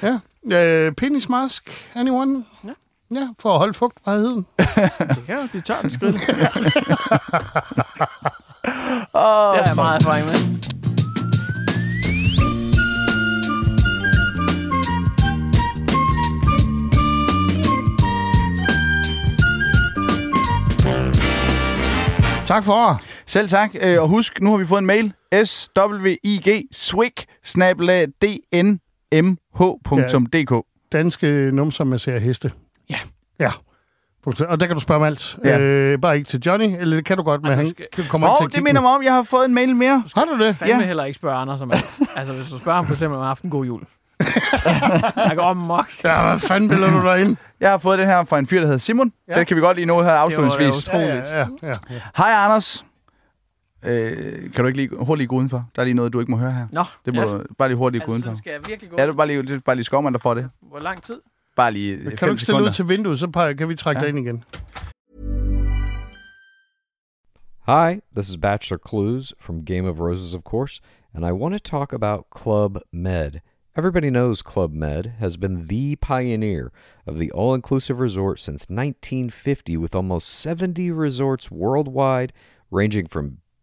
Ja. Øh, penismask, anyone? Ja. Ja, for at holde fugtbarheden.
Det kan jo blive tørt skridt. Det
<laughs> Åh,
har jeg meget erfaring med.
Tak for
Selv tak, øh, og husk, nu har vi fået en mail. SWIG swig snabel-a, dnmh.dk
danske numser, man ser heste.
Ja.
Ja. Og der kan du spørge om alt. Ja.
Ja.
Øh, bare ikke til Johnny, eller det kan du godt, men
Ej,
han
du skal-
kommer ikke
Åh,
til at
oh,
kigge
det minder
nu.
mig om, jeg har fået en mail mere.
Har du det?
Fandme
Ja.
heller ikke spørge Anders om alt. Altså, hvis du spørger ham for eksempel om aften, god
<laughs>
jul. Jeg går om mok.
Ja, hvad fanden bilder du dig ind?
Jeg har fået den her fra en fyr, der hedder Simon. Ja. Den kan vi godt lige nå her afslutningsvis.
Det var- det var utroligt.
Ja, ja, ja.
Hej, Anders. Øh, kan du ikke lige hurtigt lige gå udenfor? Der er lige noget, du ikke må høre her.
Nå,
Det må
ja.
du bare lige hurtigt gå
altså,
udenfor.
sådan skal jeg virkelig gå.
Ja, det er bare lige, det er bare lige skovmand, der får det.
Hvor lang tid?
Bare lige øh,
Kan du
fem
ikke stille ud
sekunder.
til vinduet, så peger- kan vi trække
Ja.
dig ind igen.
Hi, this is Bachelor Clues from Game of Roses, of course, and I want to talk about Club Med. Everybody knows Club Med has been the pioneer of the all inclusive resort since 1950, with almost 70 resorts worldwide, ranging from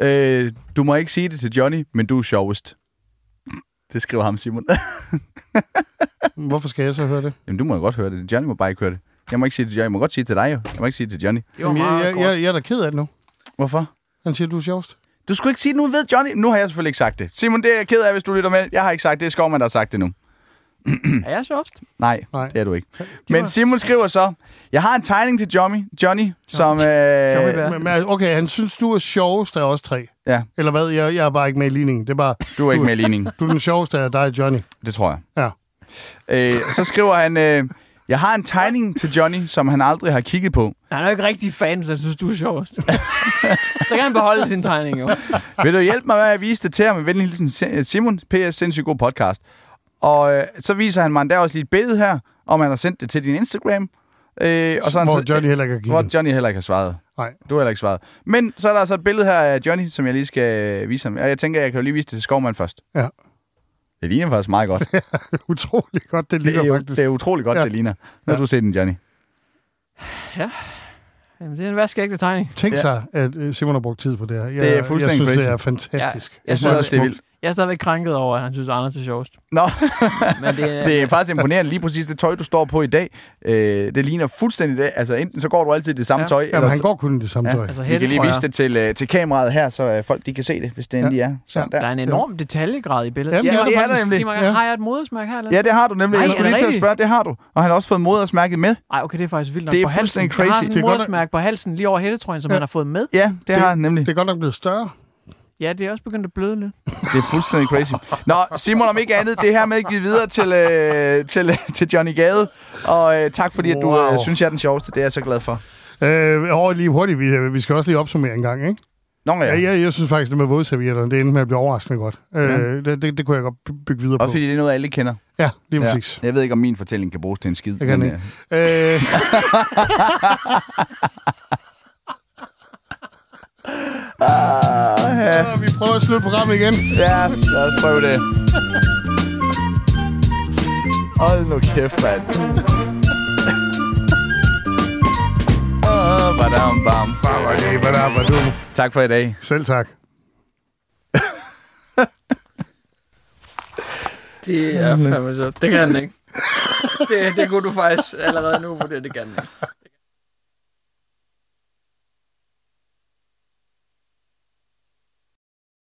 Øh, du må ikke sige det til Johnny, men du er sjovest. <laughs> Det skriver ham, Simon.
Hvorfor skal jeg så høre det?
Jamen, du må jo godt høre det. Johnny må bare ikke høre det. Jeg må ikke sige det til Johnny. Jeg må godt sige det til dig, jo. Jeg må ikke sige det til Johnny.
Det var
Jamen, jeg,
meget
jeg,
godt.
jeg, jeg er da ked af det nu.
Hvorfor?
Han siger, du er sjovest.
Du skulle ikke sige det nu, ved Johnny. Nu har jeg selvfølgelig ikke sagt det. Simon, det er jeg ked af, hvis du lytter med. Jeg har ikke sagt det. Det er Skovman, der har sagt det nu.
Er jeg sjovest?
Nej,
Nej.
Nej. det er du ikke. Men Simon skriver så, jeg har en tegning til Johnny, Johnny som... Øh,
Johnny Bear. Ja.
Men, men altså, okay, han synes, du er sjovest af os tre.
ja,
Eller hvad? Jeg, jeg er bare ikke med i ligningen. Det er bare,
du er ikke med i ligningen.
du er den sjoveste af dig, Johnny.
Det tror jeg.
Ja.
Øh, så skriver han, øh, jeg har en tegning til Johnny, som han aldrig har kigget på.
Han er jo ikke rigtig fan, så jeg synes, du er sjovest. <laughs> så kan han beholde sin tegning, jo.
<laughs> Vil du hjælpe mig med at vise det til ham? Med venlig hilsen Si- Simon, PS, sindssygt god podcast. Og øh, så viser han mig endda også lige et billede her, om han har sendt det til din Instagram. Øh, og så har han
Hvor
så-
Johnny heller ikke har
Hvor
kigget.
Johnny heller ikke har svaret.
Nej.
Du har heller ikke svaret. Men så er der altså et billede her af Johnny, som jeg lige skal øh, vise ham. Og jeg tænker, jeg kan jo lige vise det til Skovmand først.
Ja. <laughs>
Det ligner faktisk meget godt. det,
Utrolig godt, det ligner
er, jo-
faktisk.
det er utrolig godt,
Ja.
ja. det ligner. Nu har du set den, Johnny.
Jamen, det er en vaskeægte tegning.
Tænk
Ja.
sig, at øh, Simon har brugt tid på det her. Jeg,
Det er fuldstændig
Jeg synes, det
crazy.
er fantastisk.
Ja. Jeg
synes også, det er vildt.
Jeg er stadigvæk krænket over, at han synes, Anders er sjovest.
Nå,
Men det, er-
<laughs> det er faktisk imponerende. Lige præcis det tøj, du står på i dag, øh, det ligner fuldstændig det. Altså, enten så går du altid i det samme
Ja.
tøj,
Jamen, han
så-
går kun i det samme
Ja.
tøj.
altså,
Vi kan lige vise
hættetrøjer.
det til, øh, til kameraet her, så øh, folk de kan se det, hvis det endelig er. Sådan
Der
der.
er en enorm detaljegrad i billedet.
Jamen,
Simon
ja,
det er
faktisk-
der nemlig.
Simon,
Ja.
har jeg et modersmærke her? Eller?
Ja, det har du nemlig.
Ej,
Ej,
er
jeg skulle
det
lige til at
rigtigt?
spørge, det har du. Og han har også fået modersmærket med.
Ej, okay, det er faktisk vildt nok
Det er
på halsen.
fuldstændig
Han har
crazy.
sådan
Det
et
er godt, at-
modersmærke på halsen lige over hættetrøjen, som
Ja.
han har fået med.
Ja, det, har han nemlig.
Det er godt nok blevet større.
Ja, det er også begyndt at bløde lidt.
Det er fuldstændig crazy. Nå, Simon, om ikke andet, det her med givet videre til, øh, til, til Johnny Gade. Og øh, tak fordi, at du
Wow.
øh, synes, jeg er den sjoveste. Det er jeg så glad for.
Øh, og lige hurtigt, vi, øh, vi skal også lige opsummere en gang, ikke?
Nå, ja.
Ja, jeg, jeg synes faktisk, det med vådservietterne, det endte med at blive overraskende godt. Øh, det, det, det kunne jeg godt by- bygge videre
Også
på.
fordi det er noget, alle kender.
Ja, lige præcis.
Jeg ved ikke, om min fortælling kan bruges til en skid.
Det kan
men,
den ikke. Øh, <laughs> Ah,
øh, ja,
så vi prøver at slutte programmet igen.
ja, lad os prøve det. Hold nu kæft, mand. Åh, badam, bam. Tak for i dag.
Selv tak.
Det er fandme så. Det kan han ikke. Det, det kunne du faktisk allerede nu vurdere, det kan han ikke.